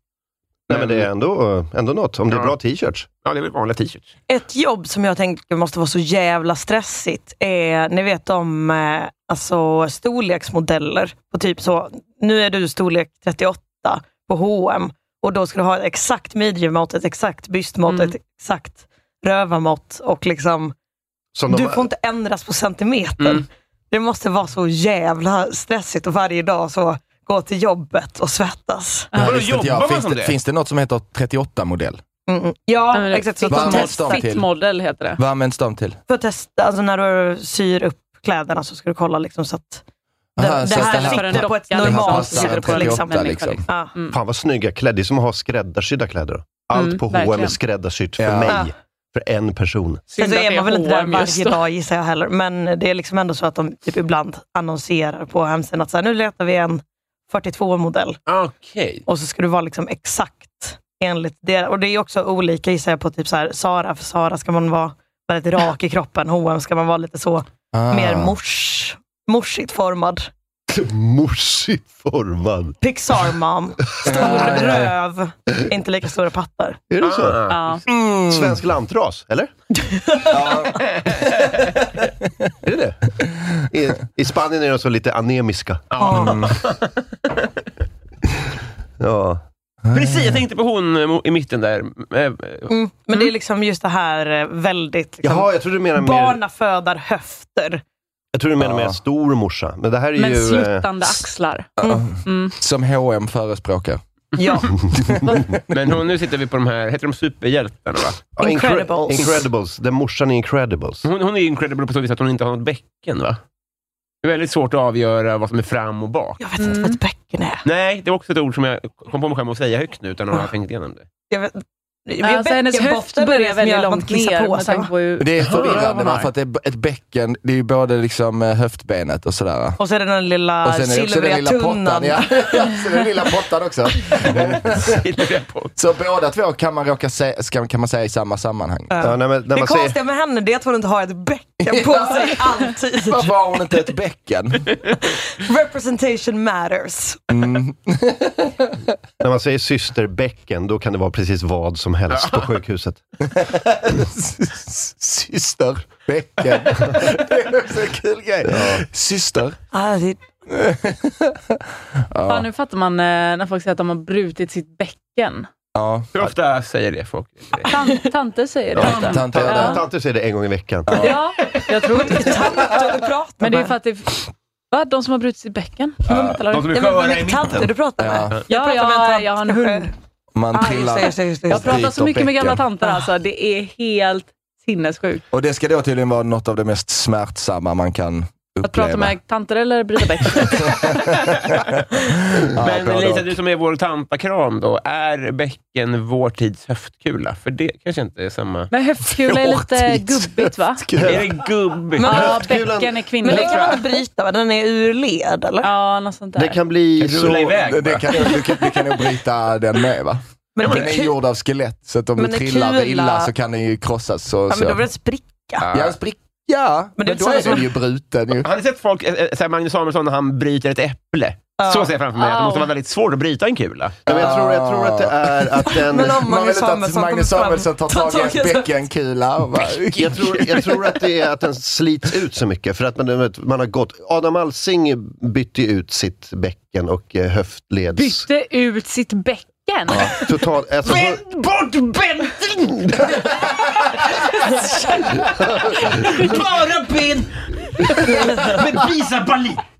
A: Nej, men det är ändå, ändå något. Om det är
C: Ja.
A: bra t-shirts.
C: Ja, det är väl vanliga t-shirts.
B: Ett jobb som jag tänker måste vara så jävla stressigt är, ni vet om eh, alltså, storleksmodeller. På typ så, nu är du storlek 38 på H&M och då ska du ha ett exakt midjemått, ett exakt bystmått,
D: Mm.
B: ett exakt rövarmått och liksom,
A: Som de,
B: du får inte ändras på centimeter.
C: Mm.
B: Det måste vara så jävla stressigt och varje dag så gå till jobbet och svettas.
E: Det här
C: Vadå,
E: visste inte
C: jobbar man
E: Finns,
C: som
E: det,
C: det?
E: finns det något som heter 38-modell?
A: Äh.
B: Mm. Ja,
D: Ja, men det-
B: exakt. Så
E: Vad
B: att de
E: används de
B: testar-
E: till?
D: Fittmodell heter det.
E: Vad används de till?
B: för att testa, alltså när du syr upp kläderna så ska du kolla liksom så att Det-
E: Aha,
B: det
E: så
B: här
E: att
B: sitter
E: det här-
B: på ett
E: det här
B: normalt
E: liksom. passar
B: sitter
E: en
B: på liksom
E: 38
D: människa, liksom.
B: ja.
A: Fan vad snygga kläder. Det är som att ha skräddarsydda kläder. Allt
D: Mm,
A: på H&M är
D: verkligen.
A: skräddarsytt för
E: Ja.
A: mig. För en person.
B: Sen så
D: att
B: är
D: det
B: man Alltså, väl inte där
D: H&M just
B: varje
D: då.
B: dag gissar jag heller, men det är liksom ändå så att de typ ibland annonserar på hemsidan att så här, nu letar vi en 42-modell
C: Okej.
B: och så ska du vara liksom exakt enligt det. Och det är också olika gissar jag på typ så här, Sara, för Sara ska man vara väldigt rak i kroppen, H&M ska man vara lite så
E: Ah.
B: mer mors, morsigt formad.
A: Morsigt formad.
B: Pixar mom,
E: Ja, ja,
B: stor
E: ja.
B: röv, inte lika stora pattar.
A: Är det så?
C: Ah.
D: Ja.
E: Mm.
A: Svensk lantras, eller?
E: Ja.
A: Är det det? I, I Spanien är de så lite anemiska.
E: Mm.
A: Ja.
C: Precis, jag tänkte på hon eh, mo- i mitten där. Eh, eh,
B: Mm. Men det är liksom just det här eh, väldigt... Liksom,
A: Jaha, jag tror du menar mer,
B: Barna födar höfter.
A: jag tror du menar mer
E: Ja.
A: stor morsa. Men det här är
D: Men
A: ju... eh,
D: sluttande axlar.
B: Mm.
D: Mm.
E: Som H&M förespråkar.
B: Ja.
C: Men hon, nu sitter vi på de här, heter de superhjältarna va?
A: ja, Incre-
B: Incredibles.
A: Incredibles. Den morsan i Incredibles.
C: Hon, hon är ju incredible på så vis att hon inte har något bäcken va? Det är väldigt svårt att avgöra vad som är fram och bak.
B: Jag vet inte vad ett bäcken är.
C: Nej, det var också ett ord som jag kom på mig själv att säga högt nu utan att ha tänkt igenom det.
B: Jag vet,
D: Ja, alltså, hennes höft börjar väldigt långt ner med tanke på hur...
E: Det är
D: Rövarna.
E: förvirrande va? för att det är b- ett bäcken, det är ju både liksom eh, höftbenet och sådär.
B: Och så är det den lilla
E: Och sen är det också den
B: silvriga
E: lilla
B: tunnan.
E: pottan. Ja, ja, så den lilla pottan också.
C: Silvia Potter.
E: Så båda två kan man, råka se, ska, kan man säga i samma sammanhang.
A: Ja, nej, men när
B: Det
A: man säger,
B: konstiga med henne det är att hon inte har ett bäcken på
E: Ja.
B: sig alltid.
E: Varför har hon inte ett bäcken?
B: Representation matters.
E: Mm.
A: när man säger systerbäcken, då kan det vara precis vad som helst på sjukhuset.
E: Syster. Bäcken. Det är också en kul grej. Syster.
B: Ah, det,
E: Ja.
D: Fan, nu fattar man eh, när folk säger att de har brutit sitt bäcken.
E: Ja.
C: Hur ofta säger det folk?
D: Tan tanter säger det
E: Ja,
D: ofta.
E: tanter gör
D: ja.
E: det.
A: Tanter säger det en gång i veckan.
D: ja, jag tror inte det.
B: tanter du pratar
D: Men det är
B: med.
D: för att det... Va? De som har brutit sitt bäcken? Eller-
C: De som är
B: Ja, men vad är
C: sköra i
B: det
C: mitten?
B: tanter du pratar med?
E: Ja.
D: Ja,
B: pratar med en
D: ja,
B: tant.
D: jag har en hund.
E: Man
B: Ah, just det,
E: trillar.
B: just det, just det.
D: Jag pratar
E: Bryter
D: så mycket med
E: bäcken.
D: gamla tanter alltså. Det är helt sinnessjukt.
E: Och det ska då tydligen vara något av det mest smärtsamma man kan
D: Att prata
E: uppleva.
D: med tanter eller bryta bäcken.
E: Ja,
C: Men
E: både
C: Lisa,
E: och.
C: du som är vår tantakram då, är bäcken vår tids höftkula? För det kanske inte är samma...
D: Men höftkula är lite gubbigt va?
C: Är det gubbigt?
D: Ja,
A: Höftkulan-
D: bäcken är
B: Men den
D: kvinnligt
B: kan
D: tror
B: man
D: jag.
B: inte bryta va? Den är ur led eller?
D: Ja, något sånt
A: Det
D: där.
A: kan bli
C: Rulla
A: så...
C: iväg.
E: Det- det kan, du, kan, du kan nog bryta den med va?
B: Men
E: Den
B: det
E: är
B: är kul.
E: gjord av skelett, så att om
B: Men
E: du
B: en
E: trillar
B: kula-
E: illa så kan den ju krossas. Och,
B: Ja,
E: så.
B: men då blir det en spricka.
E: Ja, en spricka. Ja,
B: Men
E: men,
B: det är
E: då
B: inte
E: är
B: så-
E: den ju bruten. Ju.
C: Har ni sett folk, eh, eh, såhär Magnus Samuelsson när han bryter ett äpple? Så ser jag framför mig att det måste vara väldigt svårt att bryta en kula.
A: Ja, men jag, tror, jag tror att det är att den...
B: Men om
E: Man vill
B: Magnus
E: inte att
B: Samuelsson
E: Magnus
B: kommer fram-
E: Samuelsson tar tag i
B: tar
E: en
B: tag i en-
E: bäckenkula. och bara-
A: Jag tror, jag tror att det är att den slits ut så mycket. För att man, du vet, man har gått... Adam Alsing bytte ju ut sitt bäcken och eh, höftleds...
D: Bytte ut sitt bäcken.
A: Totalt... Alltså,
C: Vänd bort bälten! Bara ben! Men visa balin!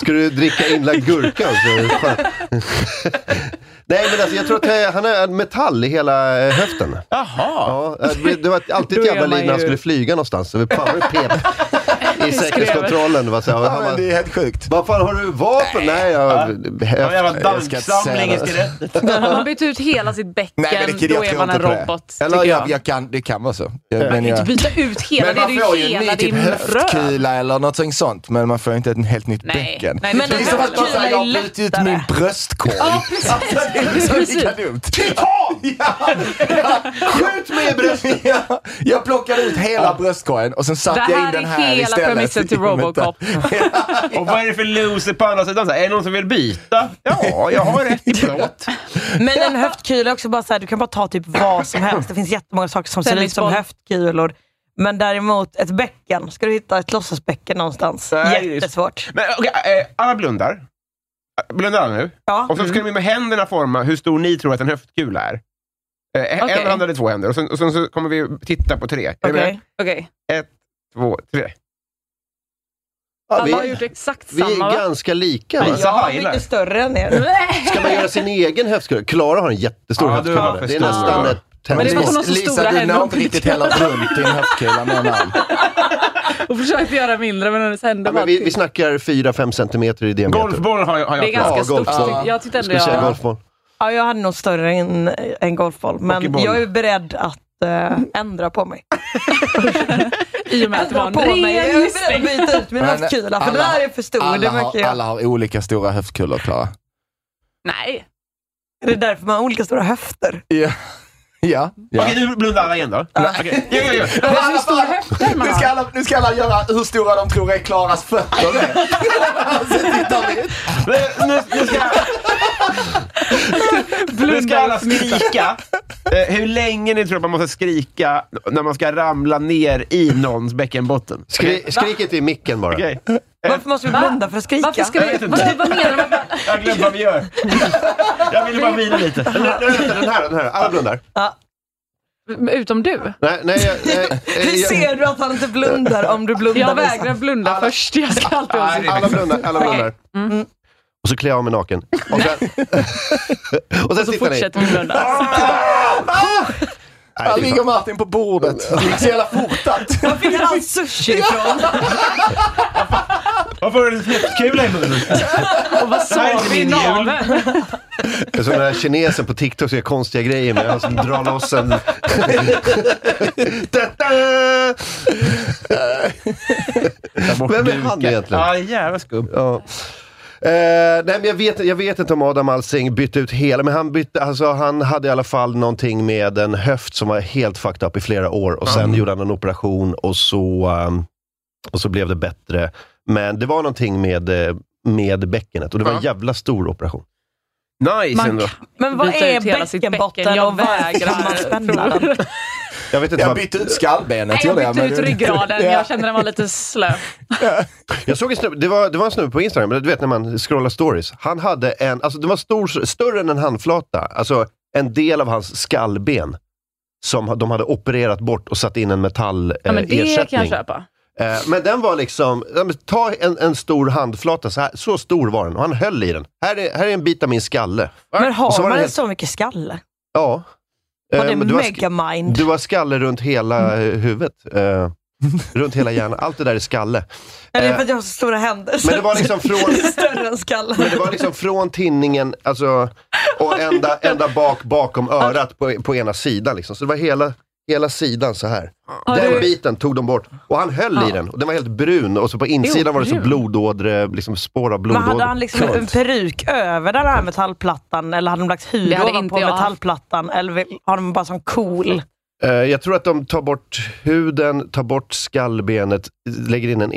A: Ska du dricka inlagd gurka? Alltså? Fan. Nej, men alltså, jag tror att det- han har metall i hela eh, höften.
C: Jaha.
A: Ja, eh, det det var alltid
D: Då
A: ett
D: är
A: jävla
D: man
A: liv när han
D: ju-
A: skulle flyga någonstans. Så fan, det pep i säkerhetskontrollen. Va, så här. Och
E: Ja,
A: han
E: men
A: bara,
E: det är helt sjukt.
A: Vad fan, har du vapen? Nej, jag...
C: Ja, jag
A: höft-
C: var
E: jag ska inte säga
C: dampsamling i
E: det.
C: skelettet.
D: Har man bytt ut hela sitt bäcken,
E: Nej, men det- jag
D: då är
E: tror
D: man en
E: inte på det.
D: robot.
E: Eller
D: tycker jag.
E: jag, jag kan, det kan vara så. Jag, men,
D: Du
E: jag,
D: byta ut hela,
E: men
D: det är
E: man
D: ju
E: får ju en
D: hela
E: ny typ
D: din röv.
E: höftkula eller något sånt, men man får ju inte ett helt nytt
D: Nej,
E: bäcken.
D: nej, det
E: det är
D: tror
E: som
D: jag
E: att man
D: inte.
E: säger jag
D: Höftkula
E: har
D: är
E: brutit ut min bröstkorg.
D: Ja, precis.
E: Alltså, det Så lika dumt.
A: Titan!
E: Ja,
A: Skjut mig i bröstet!
E: ja, jag plockade ut hela bröstkorgen och sen
D: Det
E: satte jag in
D: här
E: den
D: är
E: här
D: hela
E: istället.
D: premissen till
E: i metall.
D: Robocop.
C: Och vad är det för loser på andra sidan? Så här, är det någon som vill byta? Ja, jag har rätt i plåt.
B: Men en höftkula är också bara så här, du kan bara ta typ vad som helst. Det finns jättemånga saker som ser ut som
D: Tennisboll.
B: höftkulor. Men däremot ett bäcken. Ska du hitta ett låtsasbäcken någonstans?
C: Nej, det är-
B: Jättesvårt.
C: Men okej, eh, alla blundar. Eh, Blundar alla nu.
B: Ja.
C: Och så ska ni med händerna forma hur stor ni tror att en höftkula är. Eh,
D: Okej.
C: En hand eller två händer. Och sen, och sen så kommer vi titta på tre. Är ni med?
B: Okej.
D: Okej.
C: Två, tre.
A: Ja,
D: Alla har
A: vi,
D: gjort exakt
A: vi
D: samma
A: är
D: va?
A: ganska lika.
C: Ja.
A: Va?
B: Jag har mycket större än er.
A: Ska man göra sin egen höftskruv? Klara har en jättestor
C: Ja, du har för
A: höftskruv. Det är
C: stor.
A: nästan
C: Ja.
A: ett
D: Men det var på
A: tennismål.
D: någon så
E: Lisa,
D: stora
E: du
D: händer
E: når
D: man
E: inte
D: fick
E: riktigt hela runt din höftkula med en hand.
D: Och försökte göra mindre men hennes händer
A: Ja,
D: var
A: men vi, vi
D: alltid-
A: snackar 4-5 centimeter i diameter.
C: Golfboll har jag, har jag
D: Det är ganska
A: Ja,
D: stort.
A: golfboll.
D: tyck- Jag tyckte ändå
A: Skulle säga
D: jag...
A: golfboll.
B: Ja, jag hade nog större än en golfboll. Men
C: Hockeyboll.
B: jag är beredd att eh, ändra på mig.
D: I och med att det var
B: Ändra
D: en
B: på mig. Jag är
D: ren
B: beredd att
D: gissning.
B: byta ut min
E: Men
B: höftkula. För
E: alla-
B: det här är för stor.
E: Alla
B: Det märker
E: har,
B: jag.
E: alla har olika stora höftkulor, Klara.
D: Nej.
B: Det är därför man har olika stora höfter.
E: Ja. Ja. ja.
C: Okej, nu blundar alla igen då. Okej, gör, gör, gör.
E: Men alla
D: Hur stora
E: bara-
D: höfter man
E: Nu ska,
D: har.
E: alla, nu ska alla göra hur stora de tror är Klaras fötter är. Sen tittar vi.
C: Men Nu, nu, ska, nu ska alla skrika. Eh, hur länge ni tror att man måste skrika när man ska ramla ner i någons bäckenbotten?
A: Skri, skriket i micken bara.
C: Okej.
B: Varför måste vi blunda för att skrika?
D: Varför ska
C: Jag
D: vi...
C: vet
D: Vad,
C: inte.
D: vad menar du med att
C: Jag har glömt vad vi gör. Jag ville bara vila lite.
A: Nej, nej, vänta, Den här, den här. Alla blundar.
D: man- Utom du?
A: Nej, nej, jag- nej,
B: Hur
A: jag-
B: ser du att han inte blundar om du blundar? liksom.
D: Jag
B: Lisa?
D: vägrar blunda först. Jag ska alltid ha
C: Nej,
A: Alla
E: liksom-
A: blundar. Alla blundar.
D: Mm.
A: Och så klär jag av mig naken. Och sen, och sen
D: Så
A: tittar ni.
D: fortsätter vi blunda.
E: Här ligger Martin på bordet. Det gick så jävla fort att...
B: Var fick han all sushi ifrån?
C: Varför har du en kula i munnen?
D: Och vad sa vi i naveln?
A: Det är som den här kinesen på TikTok som gör konstiga grejer med. Han som drar loss en... Ta-ta! Vem är han egentligen?
C: Ja, jävla skum.
A: Ja. Eh, nej, men jag, vet, jag vet inte om Adam Alsing bytte ut hela, men han, bytte, alltså, han hade i alla fall någonting med en höft som var helt fucked up i flera år och sen
C: Mm.
A: gjorde han en operation och så, ehm, och så blev det bättre. Men det var någonting med, eh, med bäckenet och det var en
C: Ja.
A: jävla stor operation.
C: Nice
D: Man
C: ändå.
B: Men vad
D: Byta
B: är
D: ut hela sitt
B: bäckenbotten
D: bäcken. Jag
B: och varför får man spänna
D: vägrar.
B: den?
D: tror-
A: Jag vet inte
E: Jag
A: vad,
E: bytte ut skallbenet.
D: Nej, jag
E: gjorde jag,
D: bytte
E: men
D: ut
E: det-
D: ryggraden. Jag kände den var lite slö.
A: jag såg en snubbe, det, var, det var en snubbe på Instagram, men du vet när man scrollar stories. Han hade en, alltså den var stor, större än en handflata, alltså en del av hans skallben. Som de hade opererat bort och satt in en metallersättning.
D: Ja, men det kan jag köpa.
A: Eh, Men den var liksom, ja, men ta en, en stor handflata, så, här, så stor var den, och han höll i den. Här är, här är en bit av min skalle.
B: Men
A: Och så
B: har
A: var
B: man
A: det
B: en
A: helt-
B: så mycket skalle?
A: Ja.
B: Var
A: Eh,
B: det
A: men du, har sk-
B: megamind?
A: du har skalle runt hela eh, huvudet. eh, runt hela hjärnan. Allt det där är skalle.
B: Eller är
A: eh,
B: det för att jag har så stora händer?
A: Men det var liksom från,
B: Större än skallen.
A: men det var liksom från tinningen alltså, och ända, ända bak bakom örat på, på ena sidan. Liksom. Så det var hela, hela sidan så här. den biten tog de bort. Och han höll i den. Och den var helt brun. Och så på insidan var det så
D: brun.
A: blodådre, liksom spår av
B: Men
A: blodådre.
B: hade han liksom en peruk över den här metallplattan eller hade de lagt hud
D: Det hade
B: ovanpå
D: inte jag haft.
B: metallplattan? Eller vill- har de bara sån cool?
A: Eh, Jag tror att de tar bort huden, tar bort skallbenet, lägger in en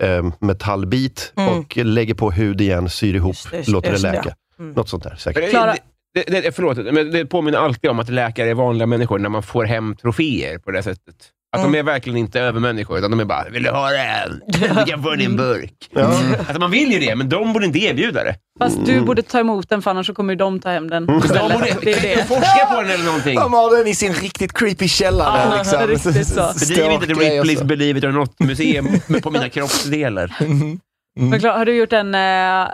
A: ersättningsmetallbit
B: Mm.
A: och lägger på hud igen, syr ihop,
B: Just det, just-
A: låter det
B: just det,
A: läka.
B: Mm.
A: Något sånt där säkert.
C: Det,
D: Klara.
C: det, det, det, förlåt, men det påminner alltid om att läkare är vanliga människor när man får hem troféer på det sättet. Att de är verkligen inte övermänniskor, utan de är bara ”Vill du ha den? Du kan få den i en burk”. Alltså man vill ju det, men de borde inte erbjuda det.
D: Fast du borde ta emot den för annars så kommer ju de ta hem den
C: De
D: istället.
C: borde
D: Mm. Det är
C: kan inte
D: det.
C: forska på den eller någonting.
E: De har den i sin riktigt creepy källare.
D: Ja,
E: liksom.
D: riktigt så.
C: Bedriv inte The
E: Ståkgrejer,
C: Ripleys
D: alltså.
E: så.
C: Believe It Or Not-museum på mina kroppsdelar.
D: Men klar, har du gjort en, eh,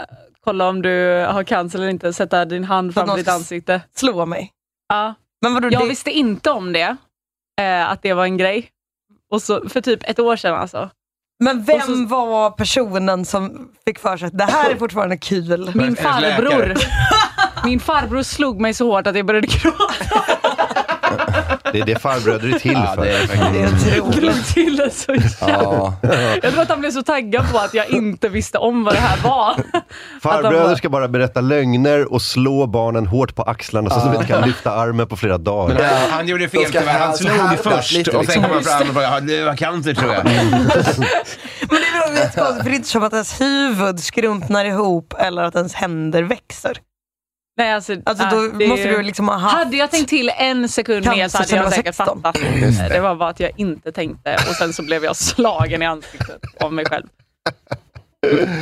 D: kolla om du har cancer eller inte, sätta din hand
B: någon
D: framför ditt
B: ska-
D: ansikte?
B: Slå mig.
D: Ja.
B: Men vadå,
D: Jag
B: det-
D: visste inte om det, eh, att det var en grej. Och så, för typ ett år sedan alltså.
B: Men vem
D: Och så-
B: var personen som fick för sig att det här är fortfarande kul?
D: Min
C: Hennes läkare.
D: farbror, min farbror slog mig så hårt att jag började gråta.
A: Det är det farbröder är till
E: Ja,
A: för.
E: det är
B: Mm. Det är otroligt.
D: Glömt till det så jävla...
E: Ja.
D: Jag tror att han blev så taggad på att jag inte visste om vad det här var. Att
A: Farbröder
D: de-
A: ska bara berätta lögner och slå barnen hårt på axlarna så att de inte kan lyfta armen på flera dagar.
C: Men eh, han, han gjorde
E: De
C: fel
E: ska
C: tyvärr. Han
E: alltså härdas
C: slog först
E: lite,
C: och sen
E: liksom.
C: kom han fram och bara, du har cancer tror jag.
B: Men det är nog lite konstigt, för det är inte som att ens huvud skrumpnar ihop eller att ens händer växer.
D: Nej, alltså,
B: Alltså
D: nej,
B: då
D: det är
B: måste
D: ju-
B: du liksom ha haft...
D: Hade jag tänkt till en sekund mer så
B: Cancer
D: hade
B: sedan jag var
D: jag säkert
B: 16.
D: fattat. Det. var bara att jag inte tänkte och sen så blev jag slagen i ansiktet av mig själv.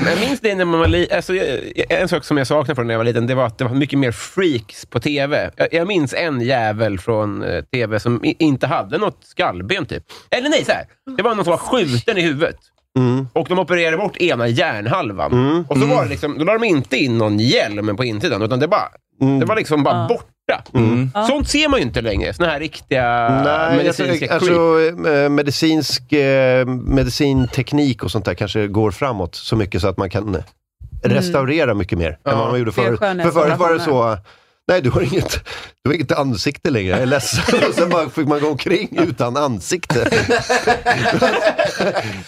C: Men minns det när man var li- alltså, jag, jag- En sak som jag saknade från när jag var liten, det var att det var mycket mer freaks på TV. Jag, jag minns en jävel från eh, TV som i, inte hade något skallben, typ. Eller nej, så här. Det var någon som var skjuten i huvudet.
A: Mm.
C: Och de opererade bort ena hjärnhalvan. Och så var det liksom, då la de inte in någon hjälm på insidan, utan det, bara,
A: Mm.
C: det var liksom bara borta. Mm. Sånt ser man ju inte längre. Såna här riktiga
A: Nej, jag
C: medicinska
A: tror,
C: creep.
A: alltså, eh, medicinsk, eh, medicinteknik och sånt där kanske går framåt så mycket så att man kan eh, restaurera mycket mer än vad man gjorde
D: Fler
A: förut. För förut var det så, nej du har inget, du har inget ansikte längre, jag är ledsen. Och sen bara fick man gå omkring utan ansikte.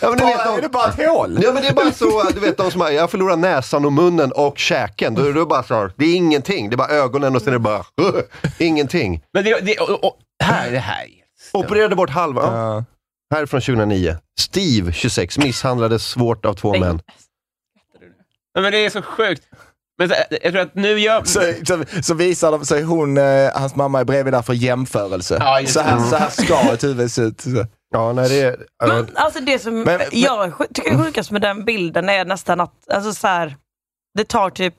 A: ja, men ni vet,
E: Bara, är
A: de-
E: det bara ett hål?
A: Ja men det är bara så, du vet de som har, jag förlorar näsan och munnen och käken. Då är det bara så, här, det är ingenting. Det är bara ögonen och sen är det bara, uh, ingenting.
C: Men det, det, och, och, här, det här.
A: Opererade bort halva.
E: Ja.
A: Här från 2009. Steve, 26, misshandlades svårt av två män.
C: Men det är så sjukt. Men så, jag tror att nu gör...
E: Så, så, så visar de sig, hon, eh, hans mamma är bredvid där för jämförelse.
C: Ja, just
E: så, här,
C: det.
E: så här ska ett huvud se ut. Så.
A: Ja, nej, det är, ja,
B: Men, alltså det som
E: Men- men-
B: jag sj- tycker är sjukast med den bilden är nästan att alltså så här, det tar typ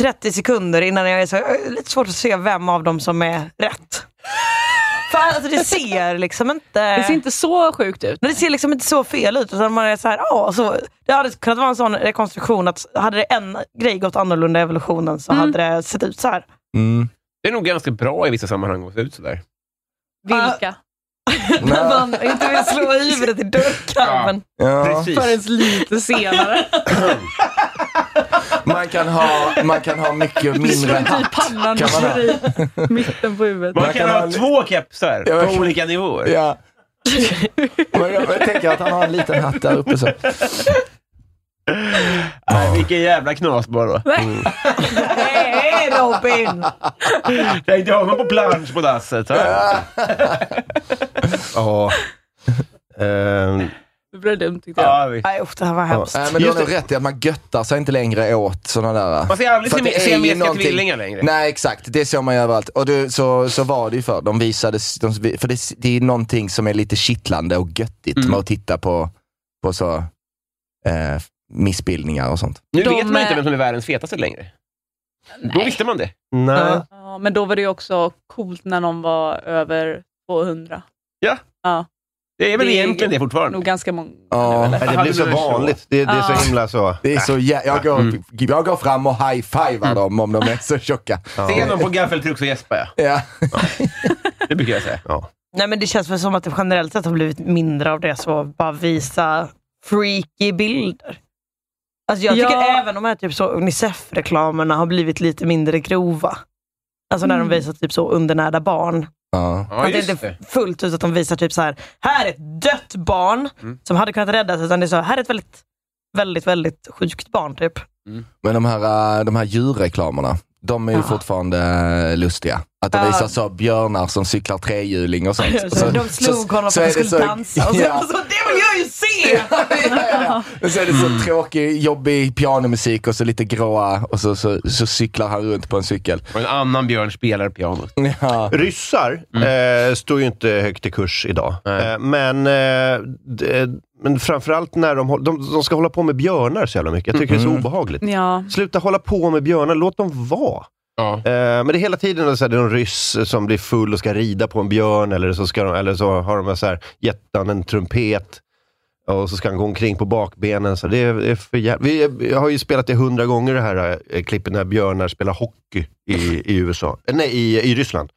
B: 30 sekunder innan jag är så jag är lite svårt att se vem av dem som är rätt. För alltså det ser liksom inte...
D: Det ser inte så sjukt ut.
B: Men det ser liksom inte så fel ut. Utan man är så här, ja, så, det hade kunnat vara en sån rekonstruktion att hade det en grej gått annorlunda i evolutionen
D: Mm.
B: så hade det sett ut så här.
E: Mm.
C: Det är nog ganska bra i vissa sammanhang att se ut sådär.
D: Vilka?
B: När man inte vill slå huvudet i dörrkarmen.
E: Ja.
C: Precis.
D: Förrän lite senare.
E: Man, kan ha, man kan ha mycket mindre
D: I
E: hatt.
D: pannan,
E: Kan man ha?
D: i mitten på huvudet.
C: Man kan ha två kepsar
E: Ja,
C: på
E: verkligen.
C: olika nivåer.
E: Ja. Men jag, jag tänker att han har en liten hatt där uppe. Så.
C: Nej, vilken jävla knas bara då.
B: Nej Robin!
C: Tänk dig honom på plansch på dasset. va?
A: ja. Ehm,
D: Det blev dumt tyckte jag.
C: Ja, visst.
B: Nej usch det här var hemskt.
E: Nej, men du har
A: Just
E: nog rätt i att man göttar sig inte längre åt sådana där. eh.
C: Man ser aldrig
E: För att det är ju
C: siamesiska
E: någonting-
C: tvillingar längre.
E: Nej exakt, det såg man ju överallt. Och du, så, så var det ju för De visades, de, för det, det är någonting som är lite kittlande och göttigt
C: Mm.
E: med att titta på, på så, eh, missbildningar och sånt.
C: Nu
D: De
C: vet man inte
D: är-
C: vem som är världens fetaste längre. Då visste man det.
A: nej.
D: Ja, men då var det ju också coolt när någon var över 200.
C: Det är väl
D: Det är
C: egentligen det fortfarande.
D: Nog ganska många
E: Ja.
D: nu eller?
A: Nej, det blir så vanligt. Det, det är så
D: Ja.
A: himla så. Mm.
E: Det är så jä- jag, går,
C: Mm.
E: jag går fram och high-fivar dem om de är så tjocka.
C: Ser
A: Ja.
C: någon på gaffeltruck så gäspar jag.
E: Ja.
C: Det brukar jag säga.
B: Nej men det känns väl som att det generellt sett har blivit mindre av det så bara visa freaky bilder. Alltså jag tycker
D: Ja.
B: även de här typ så Unicef-reklamerna har blivit lite mindre grova. Alltså när
D: Mm.
B: de visar typ så undernärda barn.
E: Ja.
C: Ja,
B: att det
C: just
B: inte
C: det.
B: fullt ut att de visar typ så här, här är ett dött barn
C: Mm.
B: som hade kunnat räddas. Utan det är så här, här är ett väldigt, väldigt, väldigt sjukt barn typ.
E: Men de här, eh, de här djurreklamerna, de är ju fortfarande eh, lustiga. Att de
B: Ja.
E: visar så björnar som cyklar trehjuling och sånt. Och
B: Så, de slog honom
E: så
B: för att
E: är det
B: han skulle
E: så-
B: dansa. Och så,
E: Ja.
B: så, det vill jag ju se!
E: ja, ja, ja. Så är det så tråkig, jobbig pianomusik och så lite gråa och så, så, så cyklar han runt på en cykel.
C: Och en annan björn spelar Mm. pianot.
E: Ja.
A: Ryssar eh, står ju inte högt i kurs idag.
C: Nej.
A: Eh, men, eh, d- eh, men framförallt när de, håll- de, de ska hålla på med björnar så jävla mycket. Jag tycker det är så obehagligt.
D: Ja.
A: Sluta hålla på med björnar, låt dem vara.
C: Ja.
A: Eh, men det är hela tiden så här, det är någon ryss som blir full och ska rida på en björn, eller så, ska de, eller så har de så här, gett han en trumpet. Och så ska han gå omkring på bakbenen. Så det är, det är för jävla... vi, vi har ju spelat det hundra gånger det här eh, klippet när björnar spelar hockey i, i USA. Eh, Nej, i, i Ryssland.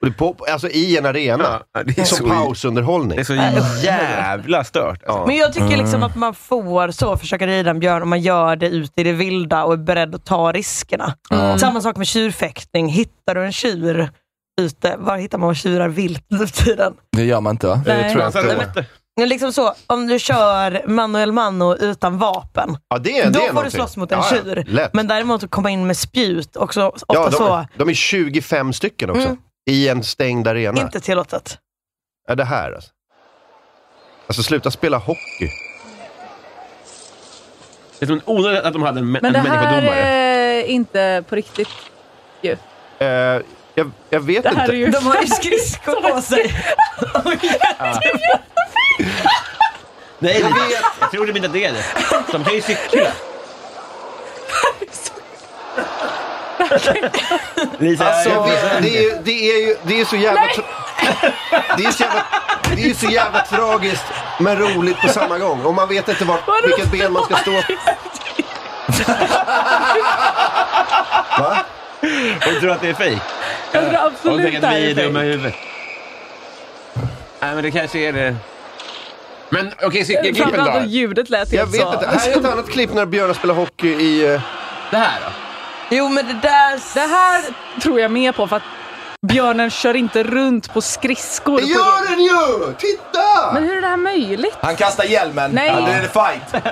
A: Och det är på, alltså i en arena.
C: Ja, det, är
A: Som
C: så,
A: pausunderhållning. Mm.
C: det är så jävla stört. Alltså.
B: Men jag tycker liksom att man får så försöka rida en björn om man gör det ute i det Mm. vilda och är beredd att ta riskerna. Samma sak med tjurfäktning. Hittar du en tjur ute. Var hittar man tjurar vilt nu för tiden?
E: Det gör man inte va?
B: Nej.
A: Det Eh, tror jag
C: Alltså,
A: inte.
C: helvete.
B: Men Liksom så, om du kör manuel mano utan vapen,
A: Ja, det, är- det
B: då
A: är
B: får
A: någonting.
B: du slåss mot en
A: Ja, ja.
B: tjur.
A: Lätt.
B: Men däremot att komma in med spjut, också ofta
A: ja, de,
B: så,
A: de är 25 stycken också.
B: Mm.
A: I en stängd arena.
B: inte tillåtet.
A: Är det här alltså? Alltså sluta spela hockey.
C: Det är som onödigt att de hade en, mä-
D: Men
C: en
D: det här
C: människodomare.
D: är inte på riktigt.
A: Eh, jag, jag vet
D: Det här
A: inte.
D: är ju...
B: De har ju skridskor på sig.
C: Nej, jag vet. Jag tror det inte att det är det. De kan ju cykla. Lisa,
A: Alltså,
C: jag vet
A: det,
C: inte.
A: det, är, ju- det, är ju, det är så jävla... tra- Det är så jävla, det är så jävla tragiskt men roligt på samma gång. Och man vet inte vart, vilket ben man ska stå på. Va?
C: Hon tror att det är fejk.
D: Jag tror
C: Hon tänker
D: absolut det
C: att
D: här
C: vi är
D: är fake.
C: dumma i huvudet. Nej, men det kanske är det. Men okej, cykelklippet
D: Framförallt att
C: då?
D: ljudet lät
A: Jag
D: helt
A: vet
D: så.
A: inte. Här är ett annat klipp när Björn spelar hockey i... eh,
C: Det här då?
B: Jo men det där...
D: Det här tror jag mer på för att björnen kör inte runt på skridskor.
A: Det gör den ju! Titta!
D: Men hur är det här möjligt?
E: Han kastar hjälmen.
D: Nej.
E: Ja, det är fight.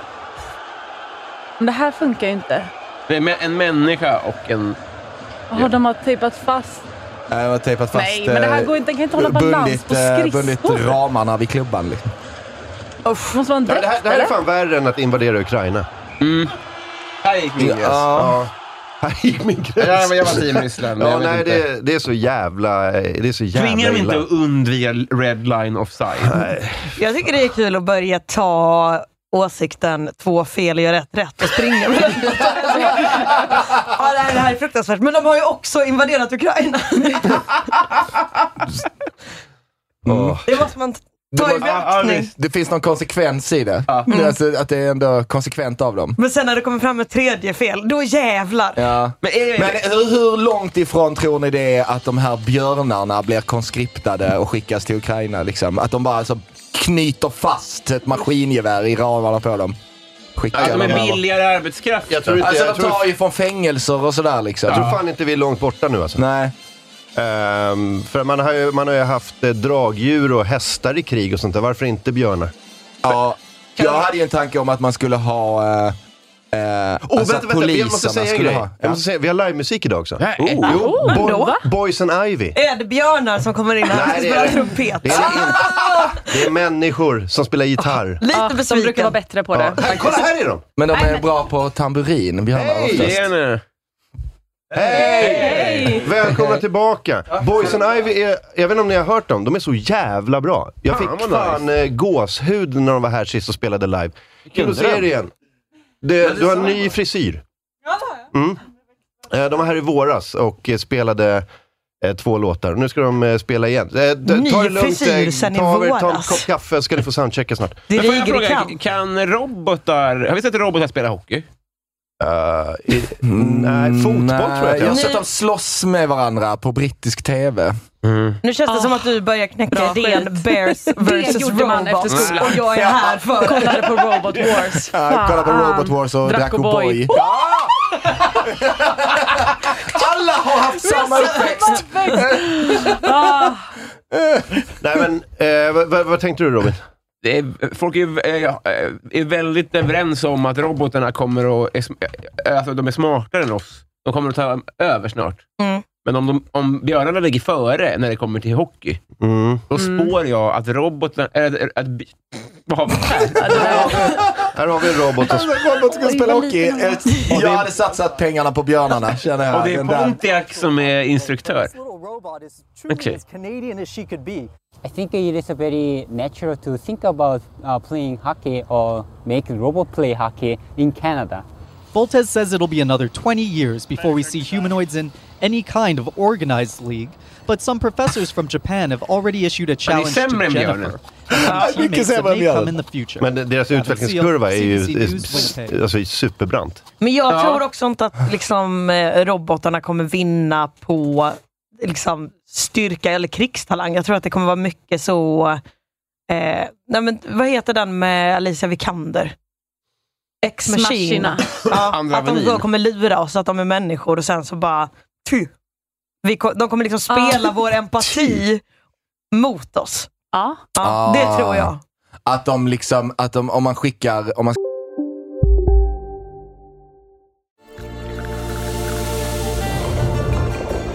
D: Men Det här funkar ju inte.
C: Det är en människa och en...
D: Åh, de har tejpat fast.
E: Jag har tejpat fast.
D: Nej, men det här
E: eh,
D: går inte. Den kan inte hålla
E: bundit,
D: balans på
E: eh, Bundit
D: skridskor.
E: ramarna vid klubban. Liksom.
D: Usch, måste vara en
A: Ja, det, här,
D: dräkt
A: det här är
D: eller?
A: fan värre än att invadera Ukraina.
C: Mm. Här gick min gräns.
A: Ja. Här gick min gräns.
C: Ja, men jag var team Ryssland.
A: Ja,
C: jag vet
A: nej,
C: inte.
A: det, det är så jävla... eh, Det är så jävla
C: Tvingar de
A: illa.
C: inte att undvika red line offside?
B: Jag tycker det är kul att börja ta åsikten två fel gör ett rätt och springa med den. ja, det här- det här är fruktansvärt. Men de har ju också invaderat Ukraina.
A: Mm. Åh.
B: Mm. Det måste man ta i beaktning.
E: Det finns någon konsekvens i det. Mm. Alltså, att det är ändå konsekvent av dem.
B: Men sen när det kommer fram ett tredje fel, då jävlar.
E: Ja.
C: Men är det,
E: Men hur, hur långt ifrån tror ni det är att de här björnarna blir conscriptade och skickas till Ukraina? Liksom? Att de bara alltså, knyter fast ett maskingevär i ramarna på dem? Skickar
C: att de
E: dem
C: är
E: över.
C: Alltså, billigare arbetskraft?
A: Jag tror inte...
E: Alltså
A: jag,
E: de
A: tror,
E: tar ju från fängelser och sådär liksom.
A: jag tror fan inte vi är långt borta nu alltså.
E: Nej.
A: Ehm, för man har, ju, man har ju haft eh, dragdjur och hästar i krig och sånt där. Varför inte björnar?
E: Ja, jag hade ju en tanke om att man skulle ha... Eh, eh,
A: Åh,
E: alltså att
A: Oh, jag måste
E: poliserna
A: säga en
E: skulle
A: grej.
E: ha...
A: Jag
E: Ja.
A: måste säga, vi har livemusik idag också. Oh.
C: Nej.
A: Jo, Bo- Boys and Ivy.
B: Är det björnar som kommer in här
A: Nej,
B: och
A: det är
B: spelar
A: det.
B: trumpet?
A: Det är, det är människor som spelar gitarr.
B: Lite
D: Ja, de brukar vara
B: besviken.
D: bättre på
A: Ja,
D: det.
A: här, kolla, här är de!
E: Men de är bra på tamburin, björnar
A: Hej!
E: oftast.
C: Det är nu.
A: Hej! Välkomna tillbaka! Boys and Ivy är, jag vet inte om ni har hört dem, de är så jävla bra. Jag
C: Fan,
A: fick
C: vad
A: fan eh, gåshud när de var här sist och spelade live. Kul att se
C: dröm.
A: er igen. Det, du har en ny frisyr. Mm. Eh, De var här i våras och eh, spelade eh, två låtar. Nu ska de eh, spela igen. Eh, d-
B: Ny
A: ta det lugnt, eh,
B: frisyr sen i
A: ta, över, ta en
B: våras.
A: kopp kaffe, ska ni få soundchecka snart.
B: Det
C: Men får jag
B: ligger i
C: fråga,
B: kamp.
C: kan robotar... Har vi sett robotar spela hockey?
A: Eh, i- nej, fotboll tror jag att
E: Mm, jag har
A: jag
E: sett dem slåss med varandra på brittisk TV.
A: Mm.
B: Nu känns det som att du börjar knäcka
D: Ah. Bra
B: idén
D: skit.
B: Bears vs
D: gjorde man efter
B: Robots.
D: skolan.
B: Och jag är här för
D: Kollade på Robot Wars.
E: Jag kollade på Robot Wars och drack O'boy. Alla har haft samma uppväxt!
D: Ah,
A: Nej men, eh, vad, vad, vad tänkte du Robin?
C: Det är, folk är, ju, eh, ja, eh, är väldigt överens om att robotarna kommer att... Är, sm- eh, alltså, de är smartare än oss. De kommer att ta över snart.
B: Mm.
C: Men om, de, om björnarna ligger före när det kommer till hockey,
A: Mm.
C: då spår jag att robotarna... Äh, att, bi- vad har vi här?
A: Här har vi en robot som
E: Robot ska spela hockey. Jag hade satsat pengarna på björnarna, känner jag.
C: Och det är
E: Den där.
C: Pontiac som är instruktör.
F: This little robot is truly
C: Okay.
F: as Canadian as she could be. I think it is very natural to think about uh, playing hockey or make robot play hockey in Canada.
G: Voltes says it'll be another 20 years before we see humanoids in any kind of organized league, but some professors from Japan have already issued a challenge to
C: sämre än björnen.
G: Jennifer. and teammates
E: mycket
G: that
E: sämre än
G: may
E: björnen.
G: come in the future.
A: Men deras utvecklingskurva är ju är, alltså, superbrant.
B: Men jag tror också inte att liksom, eh, robotarna kommer vinna på liksom, styrka eller krigstalang. Jag tror att det kommer vara mycket så... Eh, nej men, vad heter den med Alicia Vikander? X-Machine.
D: Machina.
B: Ja,
C: Andra
B: att de
C: Avenyn.
B: då kommer lura oss att de är människor och sen så bara... Ty, Vi, ko- de kommer liksom spela vår empati mot oss.
D: Ja.
B: Ja,
E: Ah.
B: Det tror jag.
E: Att de liksom, att de, om man skickar, om man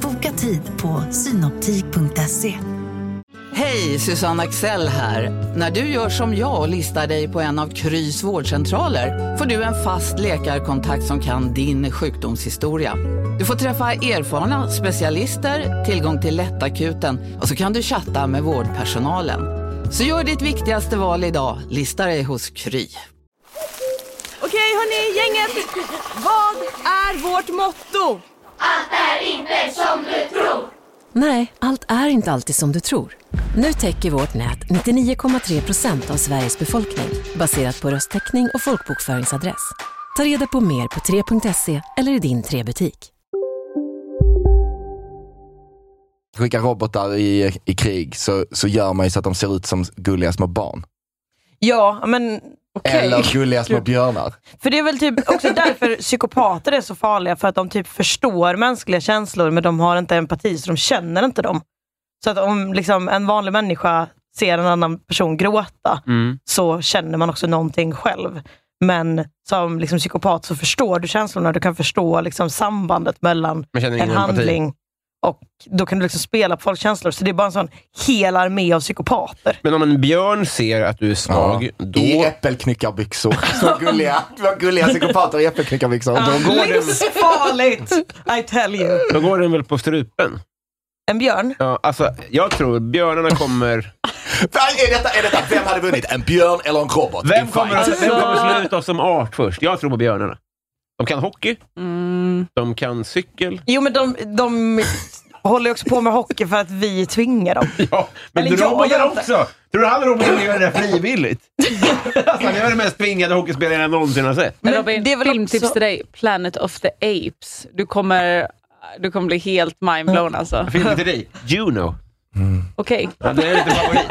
H: Boka tid på synoptik.se.
I: Hej, Susanne Axel här. När du gör som jag och listar dig på en av Krys vårdcentraler får du en fast läkarkontakt som kan din sjukdomshistoria. Du får träffa erfarna specialister, tillgång till lättakuten och så kan du chatta med vårdpersonalen. Så gör ditt viktigaste val idag, listar dig hos Kry.
J: Okej hörni, gänget! Vad är vårt motto? Allt är inte som du tror!
K: Nej, allt är inte alltid som du tror. Nu täcker vårt nät 99,3 procent av Sveriges befolkning baserat på röstteckning och folkbokföringsadress. Ta reda på mer på 3.se eller i din 3-butik.
E: skickar robotar i, i krig så, så gör man ju så att de ser ut som gulliga små barn.
B: Ja, men okej.
E: Eller gulliga små björnar.
B: För det är väl typ också därför psykopater är så farliga, för att de typ förstår mänskliga känslor men de har inte empati så de känner inte dem. Så att om liksom, en vanlig människa ser en annan person gråta
C: Mm.
B: så känner man också någonting själv. Men som liksom, psykopat så förstår du känslorna, du kan förstå liksom, sambandet mellan
C: Man känner
B: en
C: ingen empati.
B: handling och då kan du liksom spela på folks känslor. Så det är bara en sån hel armé av psykopater.
C: Eh, Men om en björn ser att du är svag, då...
E: I äppelknyckarbyxor. Så gulliga, vad gulliga psykopater i äppelknyckarbyxor.
C: Då går det-
B: Livsfarligt! I tell you.
C: Då går den väl på strupen?
B: En björn?
C: Ja, alltså, jag tror björnarna kommer...
E: Fan, Är detta, är detta, vem hade vunnit? En björn eller en robot?
C: Vem
E: I
C: kommer,
E: fight?
C: vem kommer slå ut oss som art först? Jag tror på björnarna. De kan hockey, de kan cykel.
B: Mm. Jo, men de, de håller ju också på med hockey för att vi tvingar dem.
C: Ja, men
B: Eller jag
C: robotar
B: gör inte.
C: också! Tror du han roboten gör det där frivilligt? alltså, han är den mest tvingade hockeyspelaren jag någonsin har sett.
D: Men Robin,
B: det är väl
D: filmtips
B: också-
D: till dig. Planet of the Apes. Du kommer, du kommer bli helt mindblown alltså.
C: Filmen till dig, Juno.
D: Okej.
C: Ja, det är lite favorit.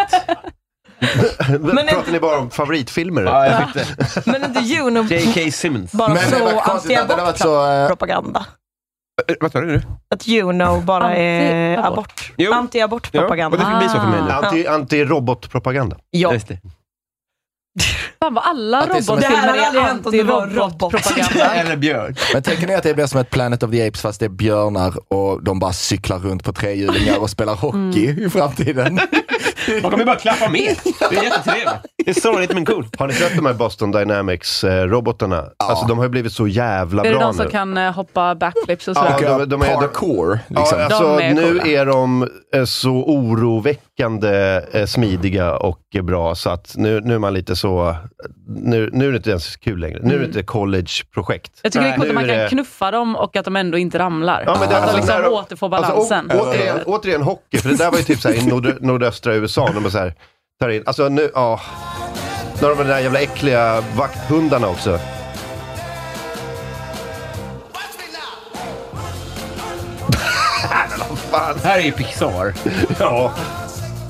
B: Men
A: Pratar ni bara om favoritfilmer?
C: Ja, jag fick det.
B: Men inte Juno
C: J.K. Simmons.
B: bara
E: Men det
B: så
E: var konstigt att den har varit så... eh,
B: anti-abortpropaganda.
C: Eh, Vad sa du nu?
B: Att Juno bara är
D: Anti-abort.
B: abort.
C: Jo. Ja, och det
B: Anti-abortpropaganda.
C: skulle bli så för mig nu.
A: Ah.
E: Ah.
A: Anti, anti-robotpropaganda.
B: Ja.
C: Just det.
D: Fan vad alla
E: det är som ett-
B: Det här
D: robotfilmer
B: hade aldrig
D: är
B: hänt om det var robot.
D: anti-robotpropaganda.
C: Eller björn.
E: Men tänker ni att det blir som ett Planet of the Apes fast det är björnar och de bara cyklar runt på trehjulingar och spelar hockey i framtiden?
C: Man kommer bara klappa med. Det är jättetrevligt. Det är sorgligt men coolt.
A: Har ni sett de här Boston Dynamics-robotarna? Alltså de har ju blivit så jävla
D: Är det
A: bra
D: de som
A: nu.
D: kan eh, hoppa backflips och
A: Ja,
D: sådär?
A: de- de är- de-
E: Parkour, liksom.
A: Ja, alltså,
D: De är
A: nu
D: coola.
A: är de eh, så oroväckande eh, smidiga och eh, bra, så att nu, nu är man lite så... Nu, nu är det inte ens kul längre. Nu är det inte college-projekt.
D: Mm. Jag tycker det är
A: Nej.
D: coolt att man
A: Nu är
D: kan
A: det-
D: knuffa dem och att de ändå inte ramlar.
A: Ja, men det är
D: att de
A: alltså
D: liksom
A: när de-
D: återfår
A: Alltså, å-
D: balansen.
A: återigen, återigen hockey, för det där var ju typ så här i nord, nordöstra USA. När man så här, tar in, alltså nu, ja. Nu har de de där jävla äckliga vakthundarna också.
C: Det här är ju Pixar.
A: Ja.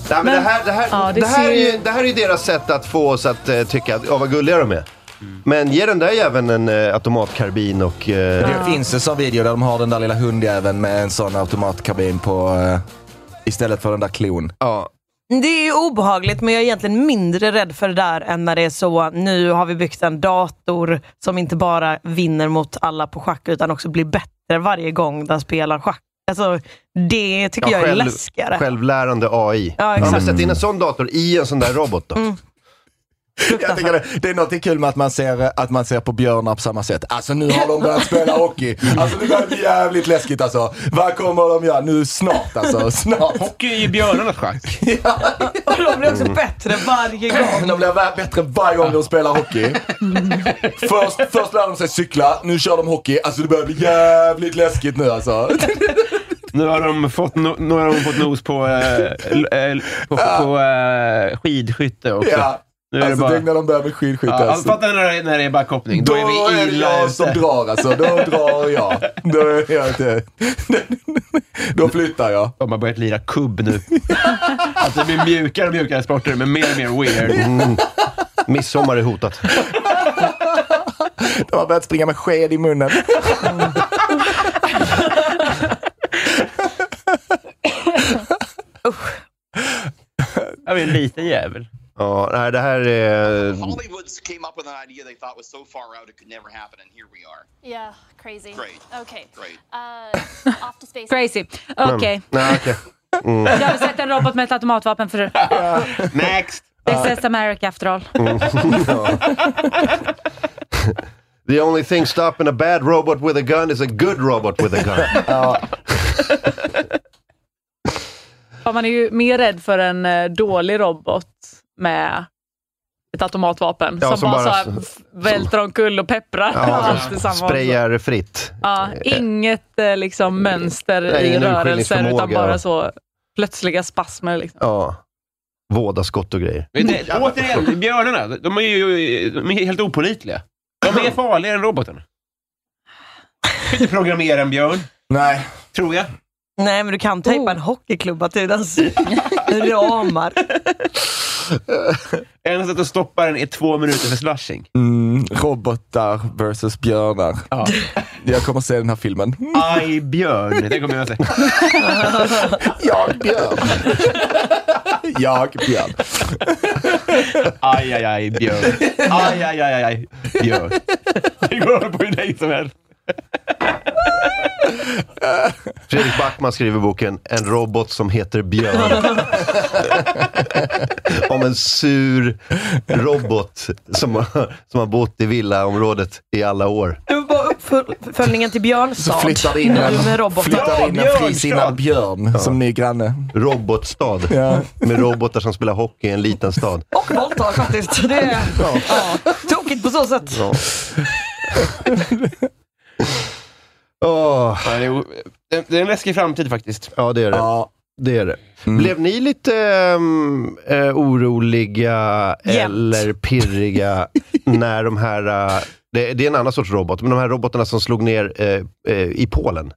A: Nej, men det, här, det, här,
D: ja,
A: det,
D: det
A: här
D: ser
A: är
D: ju-
A: ju, det här är ju deras sätt att få oss att eh, tycka att, ja, vad gulliga de är.
C: Mm.
A: Men ge den där jäveln en eh, automatkarbin och... Eh,
E: Det finns en sån video där de har den där lilla hundjäveln med en sån automatkabin på eh, istället för den där klon.
A: ja.
B: Det är ju obehagligt men jag är egentligen mindre rädd för det där än när det är så nu har vi byggt en dator som inte bara vinner mot alla på schack utan också blir bättre varje gång den spelar schack. Alltså, det tycker jag är läskigare.
A: Självlärande AI.
B: Ja, exakt. Mm.
A: men sätt in en sån dator i en sån där robot då.
E: Jag tycker det, det är något kul med att man, ser, eh, att man ser på björnar på samma sätt. Alltså nu har de börjat spela hockey. Alltså det börjar bli jävligt läskigt alltså. Vad kommer de göra nu snart alltså? Snart.
C: Hockey är ju björnarnas schack.
B: Och de blir också bättre varje gång.
E: De blir vä- bättre varje gång de spelar hockey. Först, först lär de sig cykla, nu kör de hockey. Alltså det börjar bli jävligt läskigt nu alltså.
C: Nu har de fått, no, nu har de fått nos på, eh, l- eh, på, på eh, skidskytte också.
E: Ja.
C: Nu är
E: alltså,
C: det bara...
E: Tänk när de börjar med
C: Ja,
E: skidskytte.
C: alltså,
E: alltså.
C: fatta när det är- när det är backhoppning. Då, är vi
E: det
C: illa
E: jag
C: ute.
E: som drar alltså. Då drar jag. Då, är jag inte. då flyttar jag.
C: De har börjat lira kubb nu. Att det blir mjukare och mjukare sporter, men mer och mer weird.
A: Midsommar är hotat.
E: De har börjat springa med sked i munnen.
C: Jag är en liten jävel.
A: Ja, nej, det här är... Mm.
L: came up with an idea they thought was so far out it could never happen, and here we are.
M: Yeah, crazy.
L: Great.
M: Okay.
L: Great.
M: Uh, off to space.
D: Crazy. Okej.
A: Nej, okej. Mm.
D: Jag har sett en robot med ett automatvapen för...
C: Next!
D: This is America after all.
A: The only thing stopping a bad robot with a gun is a good robot with a gun.
D: Ja, Man är ju mer rädd för en eh, dålig robot med ett automatvapen
A: Ja,
D: som,
A: som
D: bara,
A: bara
D: så
A: s-
D: här, välter omkull och pepprar.
A: Ja,
D: allt i
A: som
D: samma
A: sprayar fritt.
D: Ja, inget eh, liksom, mönster
A: Nej,
D: i
A: ingen
D: rörelser, utan
A: urskiljningsförmåga.
D: bara så plötsliga spasmer. Liksom.
A: Ja. Vådaskott och grejer.
C: Men det- Återigen, björnarna. De är ju de är helt opolitliga. De är farligare än roboten. Du kan inte programmera en björn.
E: Nej.
C: Tror jag.
B: Nej, men du kan tejpa en hockeyklubba till dess ramar.
C: Enda sättet att stoppa den är två minuter för slashing.
E: Mm, robotar versus björnar. Jag kommer se den här filmen.
C: Aj björn, det kommer jag säga.
E: Jag björn. Jag björn.
C: Aj, aj, aj, björn. Aj, aj, aj, aj, aj. björn. Det går på hur dig som helst.
A: Fredrik Backman skriver i boken En robot som heter Björn. Om en sur robot som har, som har bott i villaområdet i alla år.
B: Det var bara uppföljningen till Björnstad.
A: Så flyttar det in
B: Nu
A: en-
B: med robotar.
E: flyttar in en
B: Ja,
E: frisinnad björn
A: Ja.
E: som ny granne.
A: Robotstad. Med robotar som spelar hockey i en liten stad.
B: Och våldtar faktiskt. Det är ja. tokigt på så sätt.
A: Ja. Åh.
C: Ja, det, är, o- det- det är en läskig framtid faktiskt.
A: Ja, det är det. Det är det. Blev ni lite ehm, eh, oroliga eller pirriga när de här... eh, det, det är en annan sorts robot, men de här robotarna som slog ner eh, eh, i Polen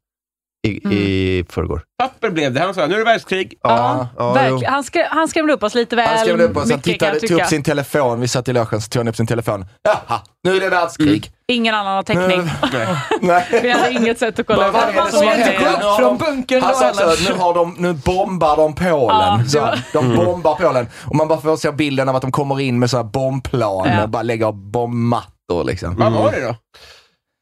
A: i, i förrgår.
C: Papper blev det. Han sa nu är det världskrig.
A: Ja,
D: Verk- han, skrä- han skrämde upp oss lite väl
E: Han skrev upp oss, han
D: mycket kan
E: tittade,
D: jag
E: tog upp
D: tycka.
E: sin telefon, vi satt i logen, så tog han upp sin telefon. Jaha, nu är det
C: Mm.
E: världskrig.
D: Ingen annan har täckning.
E: Nej.
D: Vi hade inget sätt att kolla
E: Vad var
D: upp
E: det
D: vad
E: som
D: som
E: hände? Nu
D: hände.
E: har de- Han sa också att nu, har de, nu bombar de
D: Ja,
E: Polen.
D: det
E: Så
D: var-
E: de
C: Mm.
E: bombar Polen. Och man bara får se bilden av att de kommer in med så här bombplan
D: Ja.
E: och bara lägger bombmattor liksom.
C: Vad var det då?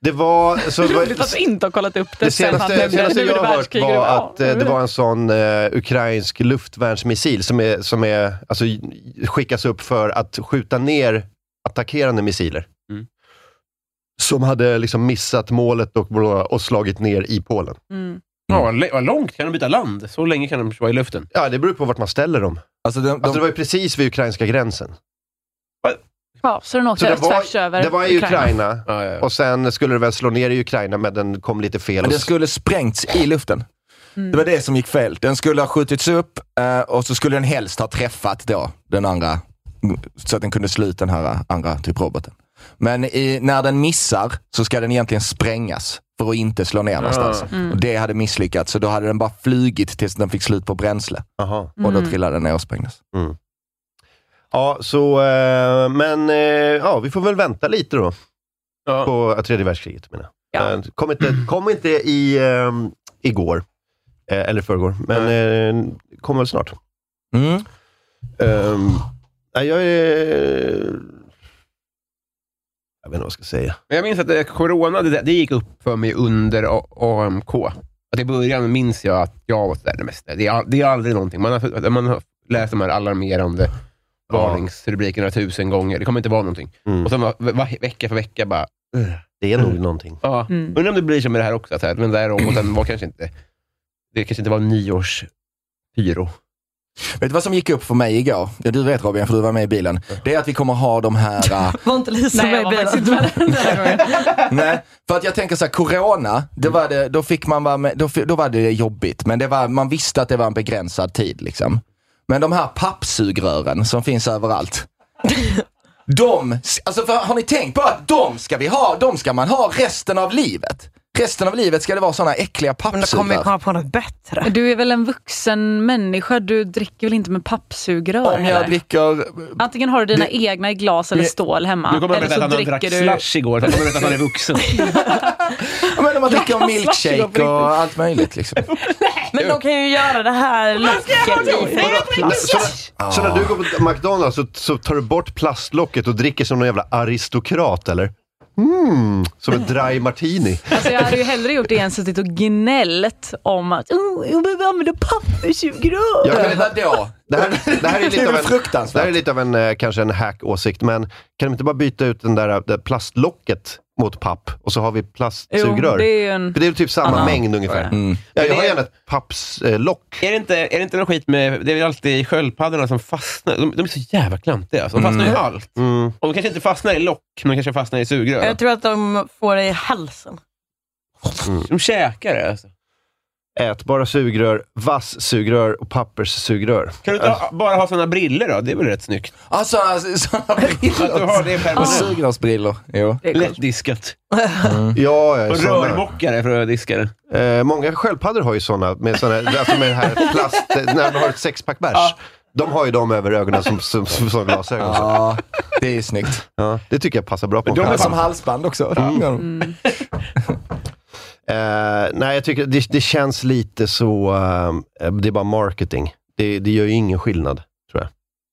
A: Det var... Så, det var-
D: Roligt att vi inte har kollat upp det,
A: det
D: sen han
A: senaste,
D: nämnde
A: senaste
D: nu är det
A: jag har hört
D: världskrig, nu är
A: var
D: det-
A: att
D: ja, nu
A: eh,
D: är
A: det var en sån eh, ukrainsk luftvärnsmissil som, är, som är, alltså, skickas upp för att skjuta ner attackerande missiler.
C: Mm.
A: Som hade liksom missat målet och, och slagit ner i Polen.
C: Ja, vad lä- vad långt kan de byta land? Så länge kan de vara i luften.
A: Ja, det beror på vart man ställer dem.
E: Alltså, de,
A: Alltså, det var ju precis vid ukrainska gränsen.
D: Ja, så den
A: Så
D: åkte
A: det
D: tvärs
A: var,
D: över
A: det var i Ukraina, och sen skulle det väl slå ner i Ukraina, men den kom lite fel.
E: Men
A: Och
E: den
A: s-
E: skulle sprängts i luften. Det var det som gick fel. Den skulle ha skjutits upp eh, och så skulle den helst ha träffat då den andra. Så att den kunde slå ut den här andra typ roboten. Men i, när den missar så ska den egentligen sprängas för att inte slå ner någonstans.
A: Mm.
E: Och det hade misslyckats, så då hade den bara flugit tills den fick slut på bränsle. Och då
A: Mm.
E: trillade den ner och sprängdes.
C: Mm.
A: Ja, så, eh, men eh, ja, vi får väl vänta lite då. På eh, tredje världskriget, menar jag. Eh, Kom inte, kom inte i, eh, igår, eh, eller förrgår, men eh, kommer väl snart.
E: Mm.
A: Ehm, nej, jag är... Jag vet inte vad jag ska säga.
C: Men jag minns att eh, corona, det, det gick upp för mig under A- AMK. Att I början minns jag att jag var sådär det mesta. Det är, al- det är aldrig någonting. Man har, man har läst de här alarmerande varningsrubrikerna tusen gånger. Det kommer inte vara någonting.
A: Mm.
C: Och sen var, va, vecka för vecka bara... "Ugh."
A: Det är nog någonting.
C: Ja. Mm. Undrar om det blir så med det här också. Att så här, den där roboten var kanske inte... Det kanske inte var en nyårspyro.
E: Vet du vad som gick upp för mig igår? Ja, du vet Robin, för du var med i bilen. Det är att vi kommer ha de här... äh,
B: Var inte Lisa
D: Nej, jag
B: med i
D: var faktiskt
B: bilen?
D: inte med den här gången.
E: Nej, för att jag tänker så här, corona, det var det, då, fick man vara med, då, fi- då var det jobbigt. Men det var, man visste att det var en begränsad tid. Liksom. Men de här pappsugrören som finns överallt. De, alltså för, har ni tänkt på att de ska, vi ha, de ska man ha resten av livet? Resten av livet ska det vara sådana äckliga
B: Då kommer vi komma
E: pappsugrör.
B: på något bättre.
D: Du är väl en vuxen människa? Du dricker väl inte med pappsugrör?
E: Om jag
D: heller?
E: dricker...
D: Antingen har du dina egna i glas Alltså, eller
E: det-
D: stål hemma.
C: Nu kommer han
D: eller
C: berätta att
D: så
C: han drack
D: dricker du...
C: slush igår, så han kommer berätta att han är vuxen.
E: Men om man dricker milkshake och allt möjligt. Liksom.
B: Men de kan ju göra det här locket i
A: Så,
B: plast.
A: när- så när du går på McDonalds så, så tar du bort plastlocket och dricker som någon jävla aristokrat eller? Mm, som en dry martini.
D: Alltså jag hade ju hellre gjort det än suttit och gnällt om att oh, jag behöver använda papperssugrör.
A: Jag
E: Men vadå?
A: Det här, det här är lite av en, det här är lite av en eh, kanske en hack-åsikt, men kan de inte bara byta ut den där, där plastlocket mot papp och så har vi plastsugrör?
D: Jo, det är ju en
A: För det är typ samma
D: annan-
A: mängd ungefär. Ja, jag har gärna ett eh, pappslock.
C: Är det, inte, är det inte någon skit med, det är väl alltid sköldpaddorna som fastnar. De, de är så jävla klantiga. Alltså. De fastnar
E: Mm.
C: i allt. Och de kanske inte fastnar i lock, men de kanske fastnar i sugrör.
B: Jag tror att de får det i halsen.
C: De käkar det. Alltså.
A: Ätbara sugrör, vass sugrör och papperssugrör. Alltså-
C: Kan du inte ha, bara ha såna briller då? Det är väl rätt snyggt?
E: Alltså, alltså sådana brillor.
C: Att du har det permanent.
E: Sugrörsbrillor. Jo.
D: Det är coolt.
C: Lättdiskat.
A: Mm. Ja, ja,
C: Och
A: såna.
C: rörmokare för att diska det.
A: Eh, många sköldpaddor har ju sådana, med, såna, alltså med det här plast, när man har ett sexpack bärs. De har ju dem över ögonen som, som, som, som glasögon.
E: Ja, det är snyggt.
A: Ja, det tycker jag passar bra på en
E: De är alltså, som
A: sköldpadda.
E: halsband också. Mm.
C: Mm.
A: Eh, nej, jag tycker det, det känns lite så... eh, det är bara marketing. Det, det gör ju ingen skillnad, tror jag.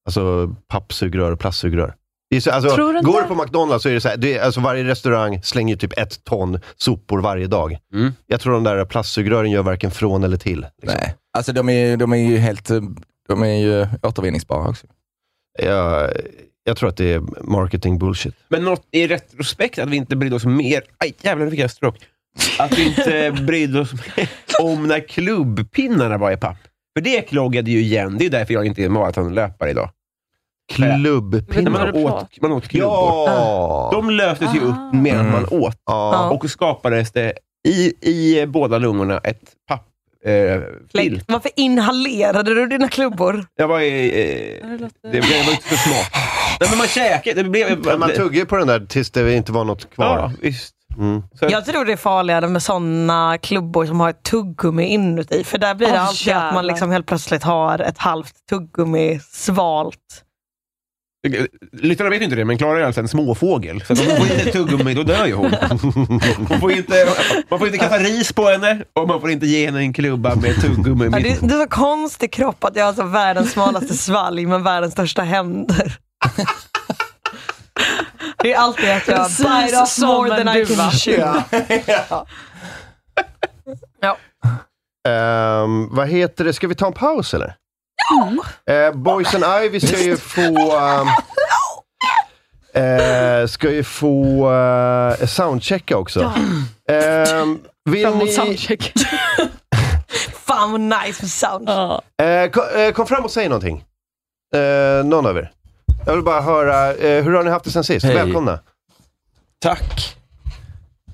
A: Alltså pappsugrör och plastsugrör. Det är så, alltså,
D: Tror du inte-
A: går du på McDonalds så är det så här, det är, alltså varje restaurang slänger ju typ ett ton sopor varje dag.
C: Mm.
A: Jag tror de där plastsugrören gör varken från eller till. Liksom.
E: Nej, alltså de är, de är ju helt eh, de är ju återvinningsbara också.
A: Jag, jag tror att det är marketing bullshit.
C: Men något i retrospekt att vi inte brydde oss mer... Aj, jävlar nu fick jag stroke. Att vi inte brydde oss mer om när klubbpinnarna var i papp. För det kloggade ju igen. Det är därför jag inte är maratonlöpare idag. När
A: Klubbpinnar.
C: man, åt, man åt klubbor.
A: Ja!
C: De löstes ju upp medan man åt.
A: Ja.
C: Och skapades det i, i båda lungorna ett papp... Eh, filt.
B: Varför inhalerade du dina klubbor?
C: jag var i... Eh, det, det var inte så smart. Nej, men man käkade. Det blev...
A: Men man tuggar ju på den där tills det inte var något
C: Ja,
A: kvar.
C: visst.
A: Mm.
C: Så att-
B: Jag tror det är farligare med sådana klubbor som har ett tuggummi inuti. För där blir det
D: Åh,
B: alltid att
D: jävlar.
B: man liksom helt plötsligt har ett halvt tuggummi svalt.
C: Lyssnarna vet ju inte det, men Klara är alltså en småfågel. Så att om hon får inte tuggummi, då dör ju hon. hon får inte, man får inte kasta ris på henne och man får inte ge henne en klubba med tuggummi. i
B: Ja, det,
C: mitten.
B: det är så konstig kropp att jag har alltså världens smalaste svalg men världens största händer. Det är alltid att jag
D: Precis
B: bite off
D: som
B: more
D: en
B: than I
D: duva.
B: can chew.
A: Ehm, vad heter det? Ska vi ta en paus eller?
D: Mm.
A: Eh, Boys and Ivy ska ju få... ehm, eh, ska ju få eh, soundchecka också. Ehm, vill
D: Fram mot
A: ni-
D: soundcheck.
B: Fan vad nice med sound.
A: eh, ko- eh, kom fram och säg någonting. Eh, någon av er. Jag vill bara höra, eh, hur har ni haft det sen sist?
N: Hej.
A: Välkomna.
N: Tack!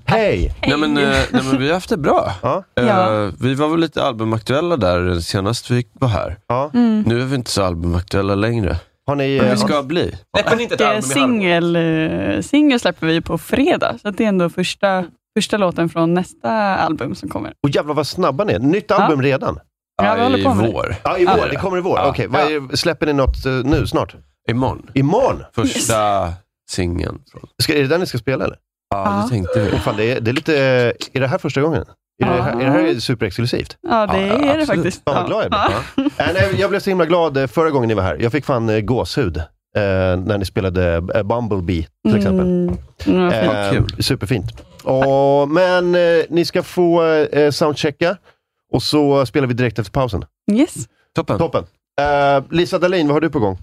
A: Hej!
N: Nej men, eh, nej men vi har haft det bra.
A: Ja.
N: Eh,
A: Ja.
N: Vi var väl lite albumaktuella där senast vi var här.
A: Ja.
D: Mm.
N: Nu är vi inte så albumaktuella längre.
A: Har ni,
N: men
A: eh,
N: vi ska
A: har-
N: bli.
C: Släpper ni inte ett
D: Det är
C: album i halvår?
D: singel, eh, singel släpper vi på fredag, så att det är ändå första, första låten från nästa album som kommer.
A: Och jävlar vad snabba ni är. Nytt album redan?
D: Ja, vi håller på med det.
A: Ja, i vår. Det kommer i vår. Okej, vad är- släpper ni något eh, nu snart?
N: Imorgon.
A: Imorgon?
N: Första singeln. från-
A: Ska, är det den ni ska spela eller?
N: Ja, det tänkte vi.
A: Åh, fan, det, är, det är lite... eh, Är det här första gången? Är, det, här, är det här superexklusivt?
D: Ja, det är det
N: absolut.
D: faktiskt.
A: Fan vad glad jag blev. Ja. Nej, nej, jag blev så himla glad eh, förra gången ni var här. Jag fick fan eh, gåshud eh, när ni spelade eh, Bumblebee till exempel.
D: Mm, vad fint.
A: Eh,
N: kul.
A: Superfint. Och, men eh, ni ska få eh, soundchecka och så spelar vi direkt efter pausen.
D: Yes.
N: Toppen.
A: Toppen. Eh, Lisa Dahlin, vad har du på gång?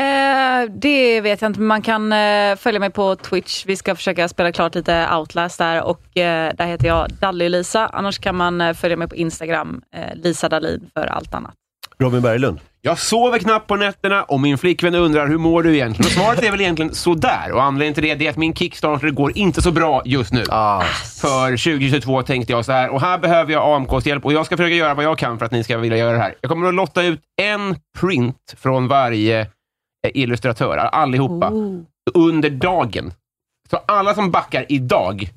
D: Eh, det vet jag inte, men man kan eh, följa mig på Twitch. Vi ska försöka spela klart lite Outlast där och eh, där heter jag Dalli-Lisa. Annars kan man eh, följa mig på Instagram, eh, Lisa Dalin för allt annat.
A: Robin Berglund.
C: Jag sover knappt på nätterna och min flickvän undrar hur mår du egentligen? Och svaret är väl egentligen sådär. Och anledningen till det, det är att min Kickstarter går inte så bra just nu. För 2022 tänkte jag så här, och här behöver jag AMKs hjälp och jag ska försöka göra vad jag kan för att ni ska vilja göra det här. Jag kommer att lotta ut en print från varje eh, illustratör, allihopa, under dagen. Så alla som backar idag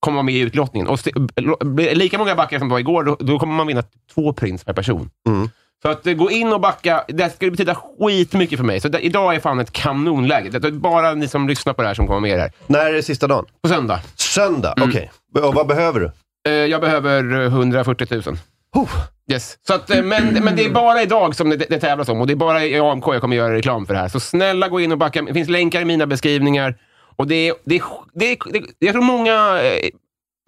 C: kommer vara med i utlottningen. Och se- eh, lo- blir det lika många backar som det var igår, då, då kommer man vinna två prints per person.
A: Mm.
C: Så att eh, gå in och backa, det skulle betyda skitmycket för mig. Så det, idag är fan ett kanonläge. Det är bara ni som lyssnar på det här som kommer med i det här.
A: När är det sista dagen?
C: På söndag. Mm.
A: Söndag, okej. Och vad behöver du?
C: Jag behöver eh, 140 000.
A: Oh.
C: Yes. Så att, eh, men, men det är bara idag som det, det tävlas om och det är bara i AMK jag kommer göra reklam för det här. Så snälla gå in och backa. Det finns länkar i mina beskrivningar. Och det, är- det, är- det, är- det, är- jag tror många, eh,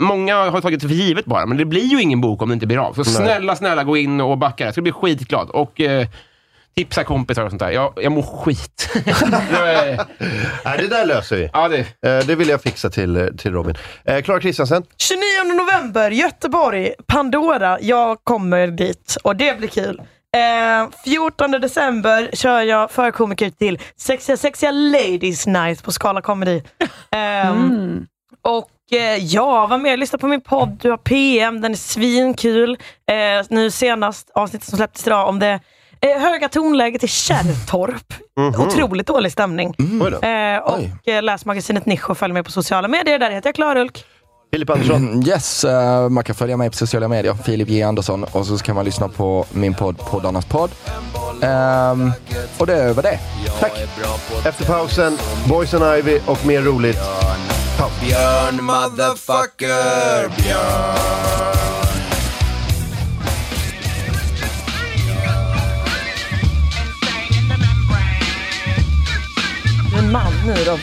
C: många har tagit det för givet bara, men det blir ju ingen bok om det inte blir av. Så
A: Nej.
C: snälla, snälla gå in och backa. Jag skulle bli skitglad. Och eh, tipsa kompisar och sånt där. Jag, jag mår skit.
A: Nej, det där löser vi.
C: Ja, det.
A: det vill jag fixa till, eh, till Robin. Eh, Klara Kristiansen?
B: 29 november, Göteborg, Pandora. Jag kommer dit och det blir kul. Eh, 14 december kör jag förkomiker till Sexiga Sexiga Ladies Night på Skala Comedy. Eh, Och eh, ja, var med och lyssna på min podd. Du har PM, den är svinkul. Eh, nu senast, avsnittet som släpptes idag, om det eh, höga tonläget i Kärrtorp.
J: Mhm.
B: Otroligt dålig stämning.
J: Oj då.
B: Eh, och eh, läs magasinet Nisch och följ mig på sociala medier. Där heter jag Klarulk.
A: Filip Andersson?
E: Yes, eh, man kan följa mig på sociala medier, Filip J Andersson. Och så kan man lyssna på min podd, Poddarnas podd. Ehm, och det var det.
A: Tack. Efter pausen, Boys and Ivy och mer roligt. Paus.
O: Björn motherfucker Björn.
B: Men man nu då.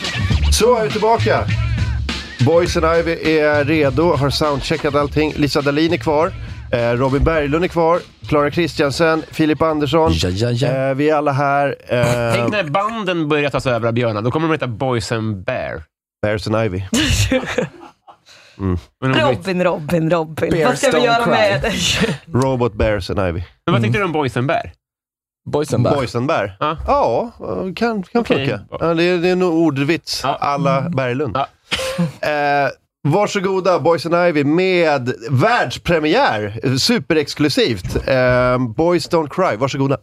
A: Så är vi tillbaka. Boys and Ivy är redo, har soundcheckat allting. Lisa Dahlin är kvar. Eh, Robin Berglund är kvar. Klara Kristiansen, Filip Andersson. Eh, vi är alla här. Eh,
C: Tänk när banden börjar tas över av björnar. Då kommer de heta Boys and Bear.
A: Bears and Ivy. mm.
B: Robin, Robin, Robin. Vad ska vi göra med dig?
A: Robot Bears and Ivy. Mm.
C: Men vad tyckte du om Boys and Bear?
E: Boys
C: and Bear.
A: Boys and Bear? Ja, eh, kan, kan funka. Ja, det, är, det är en ordvits alla Berglund. Eh, varsågoda Boys and Ivy med världspremiär. eh, Superexklusivt. Eh, Boys Don't Cry, varsågoda.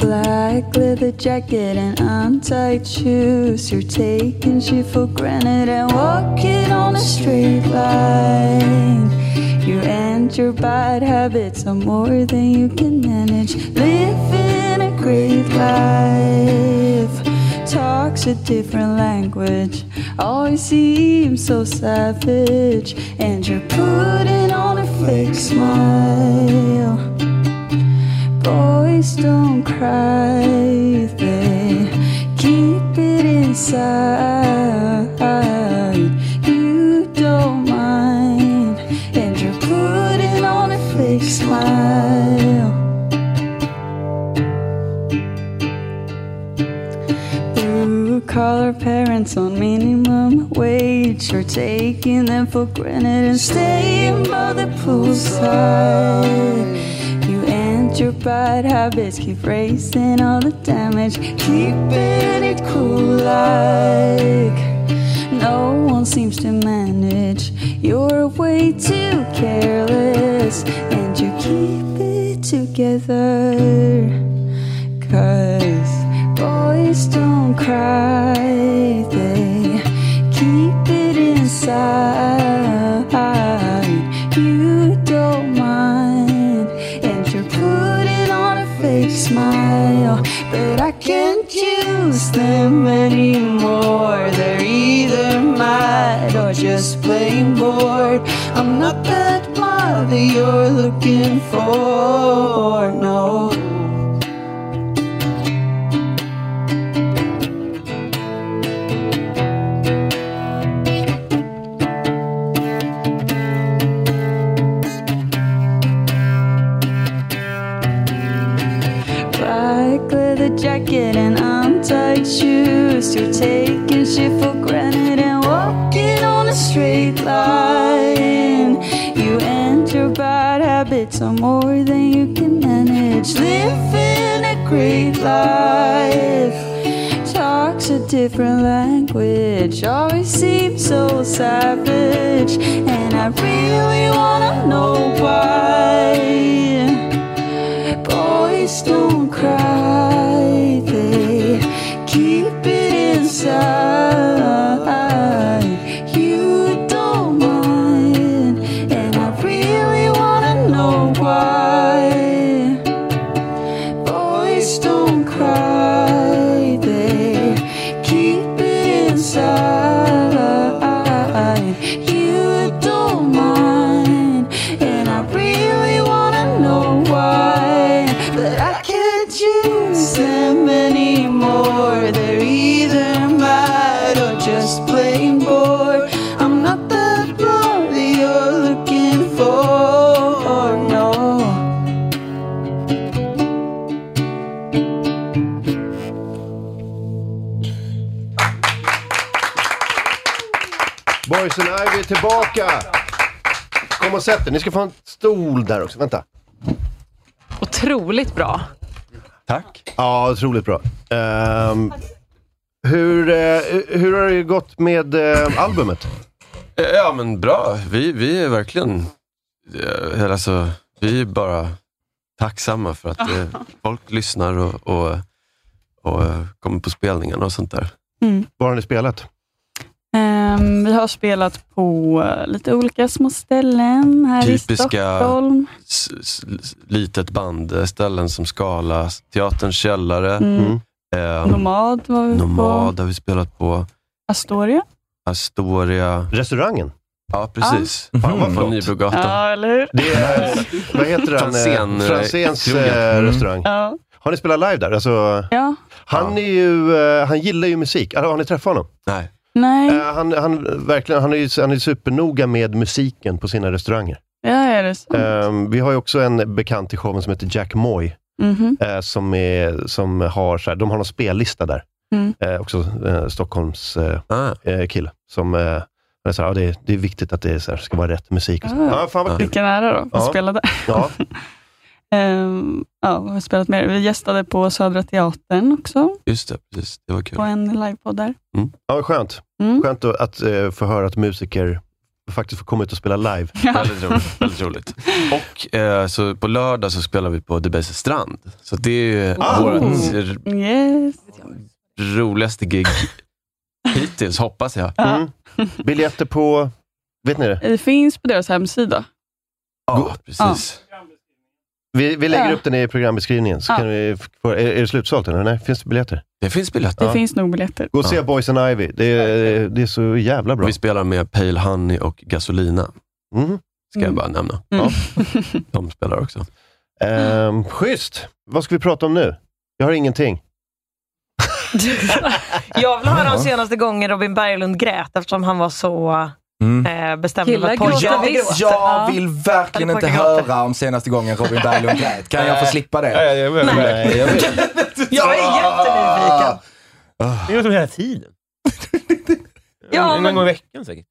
P: Black leather jacket and untied shoes. You're taking shit for granted and walking on a straight line. You and your bad habits are more than you can manage. Living a great life talks a different language. Always seems so savage, and you're putting on a fake smile. Boys don't cry, they keep it inside. You don't mind, and you're putting on a fake smile. Blue collar parents on minimum wage are taking them for granted and staying by the poolside. You and your bad habits keep raising all the damage, keeping it cool like no one seems to manage. You're way too careless, and you keep it together. Cause boys don't cry, they keep it inside. You don't mind, and you're putting on a fake smile. But I can't use them anymore. They're either mad or just plain bored. I'm not that mother you're looking for, no. Black leather jacket and untied shoes. You're taking shit for granted and walking on a straight line. You and your bad rabbits are more than you can manage. Living a great life talks a different language. Always seems so savage, and I really wanna know why. Boys don't cry, they keep it inside. You don't mind, and I really wanna know why. Boys don't cry, they keep it inside. You don't mind, and I really wanna know why. But I can't use them anymore. They're either mad or just plain bored. I'm not that bloody you're looking for, no.
A: Boys and Ivy är tillbaka! Kom och sätt er. Ni ska få en stol där också. Vänta.
D: Otroligt bra.
A: Tack. Ja, otroligt bra. Ehm, hur, eh, hur har det gått med eh, albumet?
N: Eh, Ja, men bra. Vi, vi är verkligen... eh, Alltså, vi är bara tacksamma för att eh, folk lyssnar och, och, och eh, kommer på spelningarna och sånt där.
B: Mm.
A: Var har ni spelat?
B: Ehm, vi har spelat på eh, lite olika små ställen här i
N: Typiska
B: Stockholm.
N: s, s, litet band, eh, ställen som Skala, Teaterns källare,
B: Mm.
N: eh,
B: Nomad var vi
N: Nomad
B: på.
N: har vi spelat på,
B: Astoria.
N: Astoria.
A: Restaurangen?
N: Ja, precis.
A: Fan, vad
N: På
A: flott.
N: Nybrogatan.
B: Ja, eller hur?
A: Det är, vad heter den?
N: Franzén, eh,
A: Franzéns
N: krogen.
A: eh,
N: Mm.
A: restaurang.
B: Ja.
A: Har ni spelat live där? Alltså,
B: Ja.
A: han, är ju, eh, han gillar ju musik. Alltså, har ni träffat honom? Eh,
N: Nej.
B: Nej,
A: han, han, verkligen, han är ju han är supernoga med musiken på sina restauranger.
B: ja, är det så?
A: Eh, vi har ju också en bekant i showen som heter Jack Moy.
B: Mhm.
A: eh, som, är, som har, så här, de har någon spellista där.
B: Mm.
A: Eh, också eh, Stockholms eh,
N: Ah.
A: eh, kille. Som, eh, han är så här, ja, det, är, det är viktigt att det är så här, ska vara rätt musik. Och så. Ja, fan
N: Ah.
A: vad kul.
B: Ah. Vilken ära då, att
A: Ja.
B: spela där.
A: Ja.
B: Ehm, ja, vad har vi spelat mer? Vi gästade på Södra Teatern också,
N: Just det, precis. Det var kul.
B: på en livepodd där.
N: Mm.
A: Ja, skönt.
B: Mm.
A: Skönt att, att eh, få höra att musiker faktiskt får komma ut och spela live.
N: Väldigt roligt. Väldigt roligt. Och eh, så på lördag så spelar vi på Debaser strand. Så det är
B: Ah.
N: vårt
A: Mm.
B: Yes.
N: roligaste gig hittills, hoppas jag.
A: Mm. Biljetter på, vet ni det?
B: Det finns på deras hemsida.
A: Ja,
B: precis.
A: Vi, vi lägger
B: Ja.
A: upp den i programbeskrivningen. Så
B: Ja.
A: kan vi, f- få- är, är det slutsålt eller? Nej, finns det biljetter?
N: Det finns biljetter.
B: Det finns nog biljetter.
A: Gå och se Boys and Ivy. Det är, det är så jävla bra. Mm.
N: Vi spelar med Pale Honey och Gasolina. Ska jag
B: Mm.
N: bara nämna. De spelar också.
A: Ehm, schysst! Vad ska vi prata om nu? Jag har ingenting.
B: Jag vill höra
A: Ja.
B: om senaste gången Robin Berglund grät eftersom han var så eh, bestämd över att pojkar
E: jag,
B: gråter.
E: jag vill verkligen
B: Eller
E: inte
B: pojkar gråter.
E: höra om senaste gången Robin Berglund grät. Kan jag få slippa det?
C: Nej, jag vill- Nej, jag vill-
Q: Ah!
B: Jag är jättenyfiken.
C: Det är något som hela tiden.
B: Ja,
C: en
B: men-
C: gång i veckan säkert.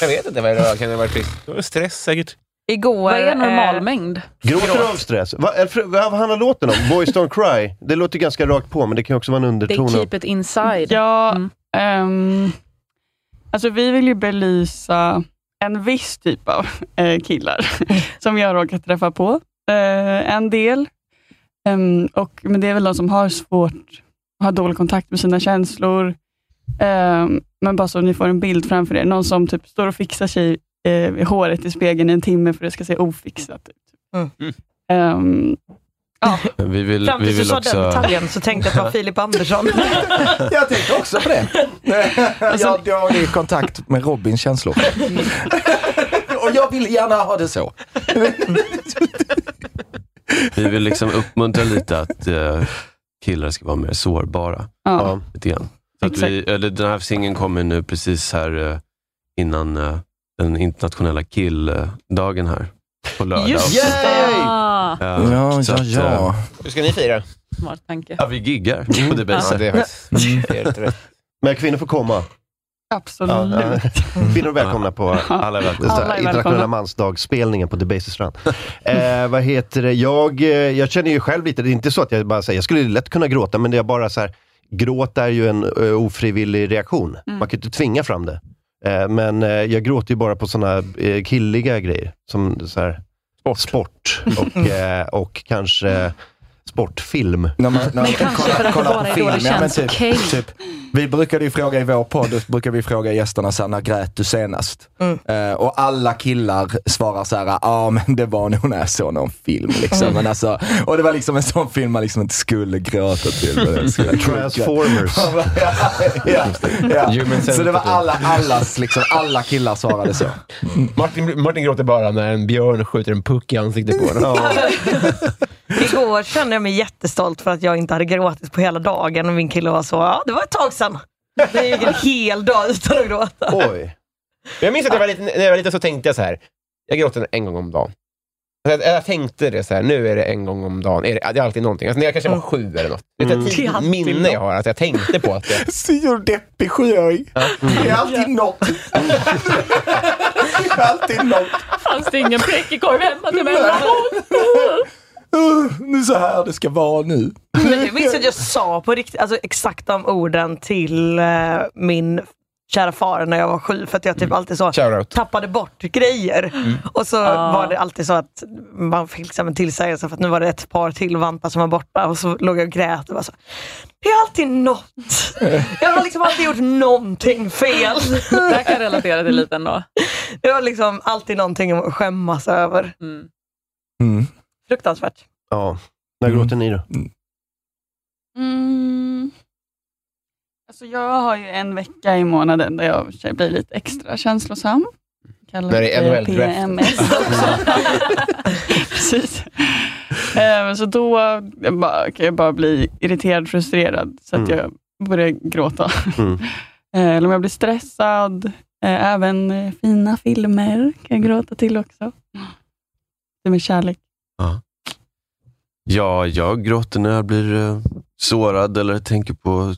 C: Jag vet inte vad det var. Kan det ha varit trist? Det var stress säkert.
B: Igår...
D: Vad är normalmängd?
A: Gråter du av stress? Va, eller, för- vad handlar låten om? Boys Don't Cry? Det låter ganska rakt på, men det kan ju också vara en
D: They
A: underton. av-
D: keep it inside. Mm.
B: Ja, ehm, alltså vi vill ju belysa en viss typ av eh, killar som jag råkat träffa på. eh, en del. Ehm, och, men det är väl de som har svårt, har dålig kontakt med sina känslor. Ehm, men bara så ni får en bild framför er. Någon som typ står och fixar sig eh, i håret i spegeln i en timme för att det ska se ofixat ut. Ehm, ja.
N: Men Vi vill,
B: Fram
N: vi
B: tills du
N: vill
B: sa den
N: också...
B: detaljen så tänkte jag att det var Filip Andersson. Alltså,
E: Jag tänkte också på det.
C: Alltså-
E: Jag, jag är i kontakt med Robins känslor. Och jag vill gärna ha det så.
N: Vi vill liksom uppmuntra lite att eh, killar ska vara mer sårbara.
B: Ja.
N: Lite grann. Så att vi, eller den här singeln kommer nu precis här eh, innan eh, den internationella killdagen här på lördag.
C: Just
N: också.
C: det!
N: Eh, så att, eh,
C: Hur ska ni fira?
D: Smart tanke.
A: Mm.
N: Ja, vi giggar på Debaser.
C: Ja, det är faktiskt-
A: Men kvinnor får komma.
B: Absolut.
R: Mm.
A: Ja, ja. Kvinnor är välkomna på
N: Alla är välkomna.
A: Så här,
B: Alla är
A: internationella
B: välkomna.
A: mansdagsspelningen på The Basis Run. Eh, vad heter det? Jag, eh, jag känner ju själv lite, det är inte så att jag bara säger, jag skulle lätt kunna gråta, men det är bara så här, gråt är ju en eh, ofrivillig reaktion.
R: Mm.
A: Man kan ju inte tvinga fram det. Eh, men eh, jag gråter ju bara på såna eh, killiga grejer, som så här, sport. och, eh, och kanske eh, sportfilm.
R: Men kanske för att det bara är då det
A: Ja, men
R: känns okej.
Q: typ- Vi brukade ju fråga i vår podd, då brukade vi fråga gästerna så här, när grät du senast?
R: Mm.
Q: Eh, och alla killar svarar så här, ja ah, men det var nog när jag såg någon film. Liksom.
R: Mm.
Q: Men alltså, och det var liksom en sån film man liksom inte skulle gråta till. men den skulle-
A: Transformers.
Q: ja,
C: Human
Q: ja. Så det var
C: centipede.
Q: alla, allas, liksom, alla killar svarade så.
C: Mm. Martin, Martin gråter bara när en björn skjuter en puck i ansiktet på honom.
B: Igår kände jag mig jättestolt för att jag inte hade gråtit på hela dagen och min kille var så, ja det var ett tag sedan. Det gick en hel dag utan att gråta.
A: Oj.
C: Jag minns att jag var liten, när jag var liten så tänkte jag så här. Jag gråter en gång om dagen. Alltså, Jag, jag tänkte det så här, nu är det en gång om dagen. Är det, det är alltid någonting. Alltså, när jag kanske var sju eller något. Det är ett
Q: Mm. Det är
C: tidigt
Q: alltid
C: minne jag har, att jag tänkte på att det...
Q: Så deppig sjuåring. Det är alltid något. Det är alltid något.
J: Fanns det ingen prickig-korv hemma till mig?
Q: Uh, nu så här det ska vara nu.
B: Men du minns att jag sa på riktigt, alltså exakt de orden till eh, min kära far när jag var sju, för att jag typ
A: Mm.
B: alltid så tappade bort grejer. Och så
J: Ah.
B: var det alltid så att man fick liksom en tillsägelse för att nu var det ett par till vantar som var borta och så låg jag och grät och var så, det är alltid något. Jag har liksom alltid gjort någonting fel.
D: Där kan jag relatera till lite ändå.
B: Det var liksom alltid någonting att skämmas över.
D: Mm.
B: Fruktansvärt.
A: Ja. När gråter ni då?
C: Mm.
R: Mm. Alltså jag har ju en vecka i månaden där jag blir lite extra känslosam.
A: Mm.
R: Kallar
C: När det är
R: det
C: NHL-draft.
R: PMS också. Precis. Ehm, Så då jag bara, kan jag bara bli irriterad, frustrerad, så att
J: Mm.
R: jag börjar gråta.
A: Mm.
R: Eh, Eller om jag blir stressad. Eh, Även eh, fina filmer kan
A: Mm.
R: jag gråta till också. Det med kärlek.
N: Ja, jag gråter när jag blir eh, sårad eller tänker på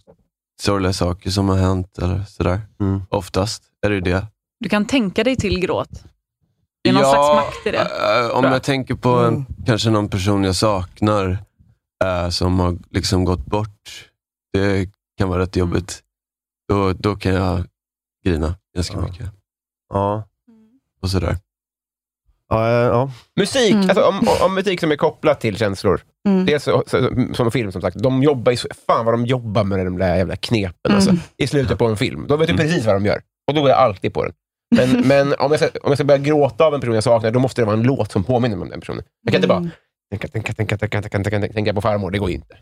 N: sorgliga saker som har hänt. Eller sådär. Oftast är det ju det.
D: Du kan tänka dig till gråt. Det är någon
N: Ja,
D: slags makt i det.
N: eh, om jag tänker på en,
A: Mm.
N: kanske någon person jag saknar eh, som har liksom gått bort. Det kan vara
A: Mm.
N: rätt jobbigt. Då, då kan jag grina ganska mycket. Mm.
A: Ja.
N: Och sådär.
A: Ja, eh, ja.
C: Musik, alltså, om, om musik som är kopplat till känslor.
R: Mm.
C: Det är så, så, som en film, som sagt. De jobbar ju så, fan vad de jobbar med de där jävla knepen alltså,
R: Mm.
C: i slutet på en film. De vet
A: Mm.
C: ju precis vad de gör. Och då går jag alltid på den. Men, men om, jag ska, om jag ska börja gråta av en person jag saknar, då måste det vara en låt som påminner mig om den personen. Jag kan inte bara tänka, tänka, tänka, tänka, tänka, tänka, tänka på farmor. Det går inte.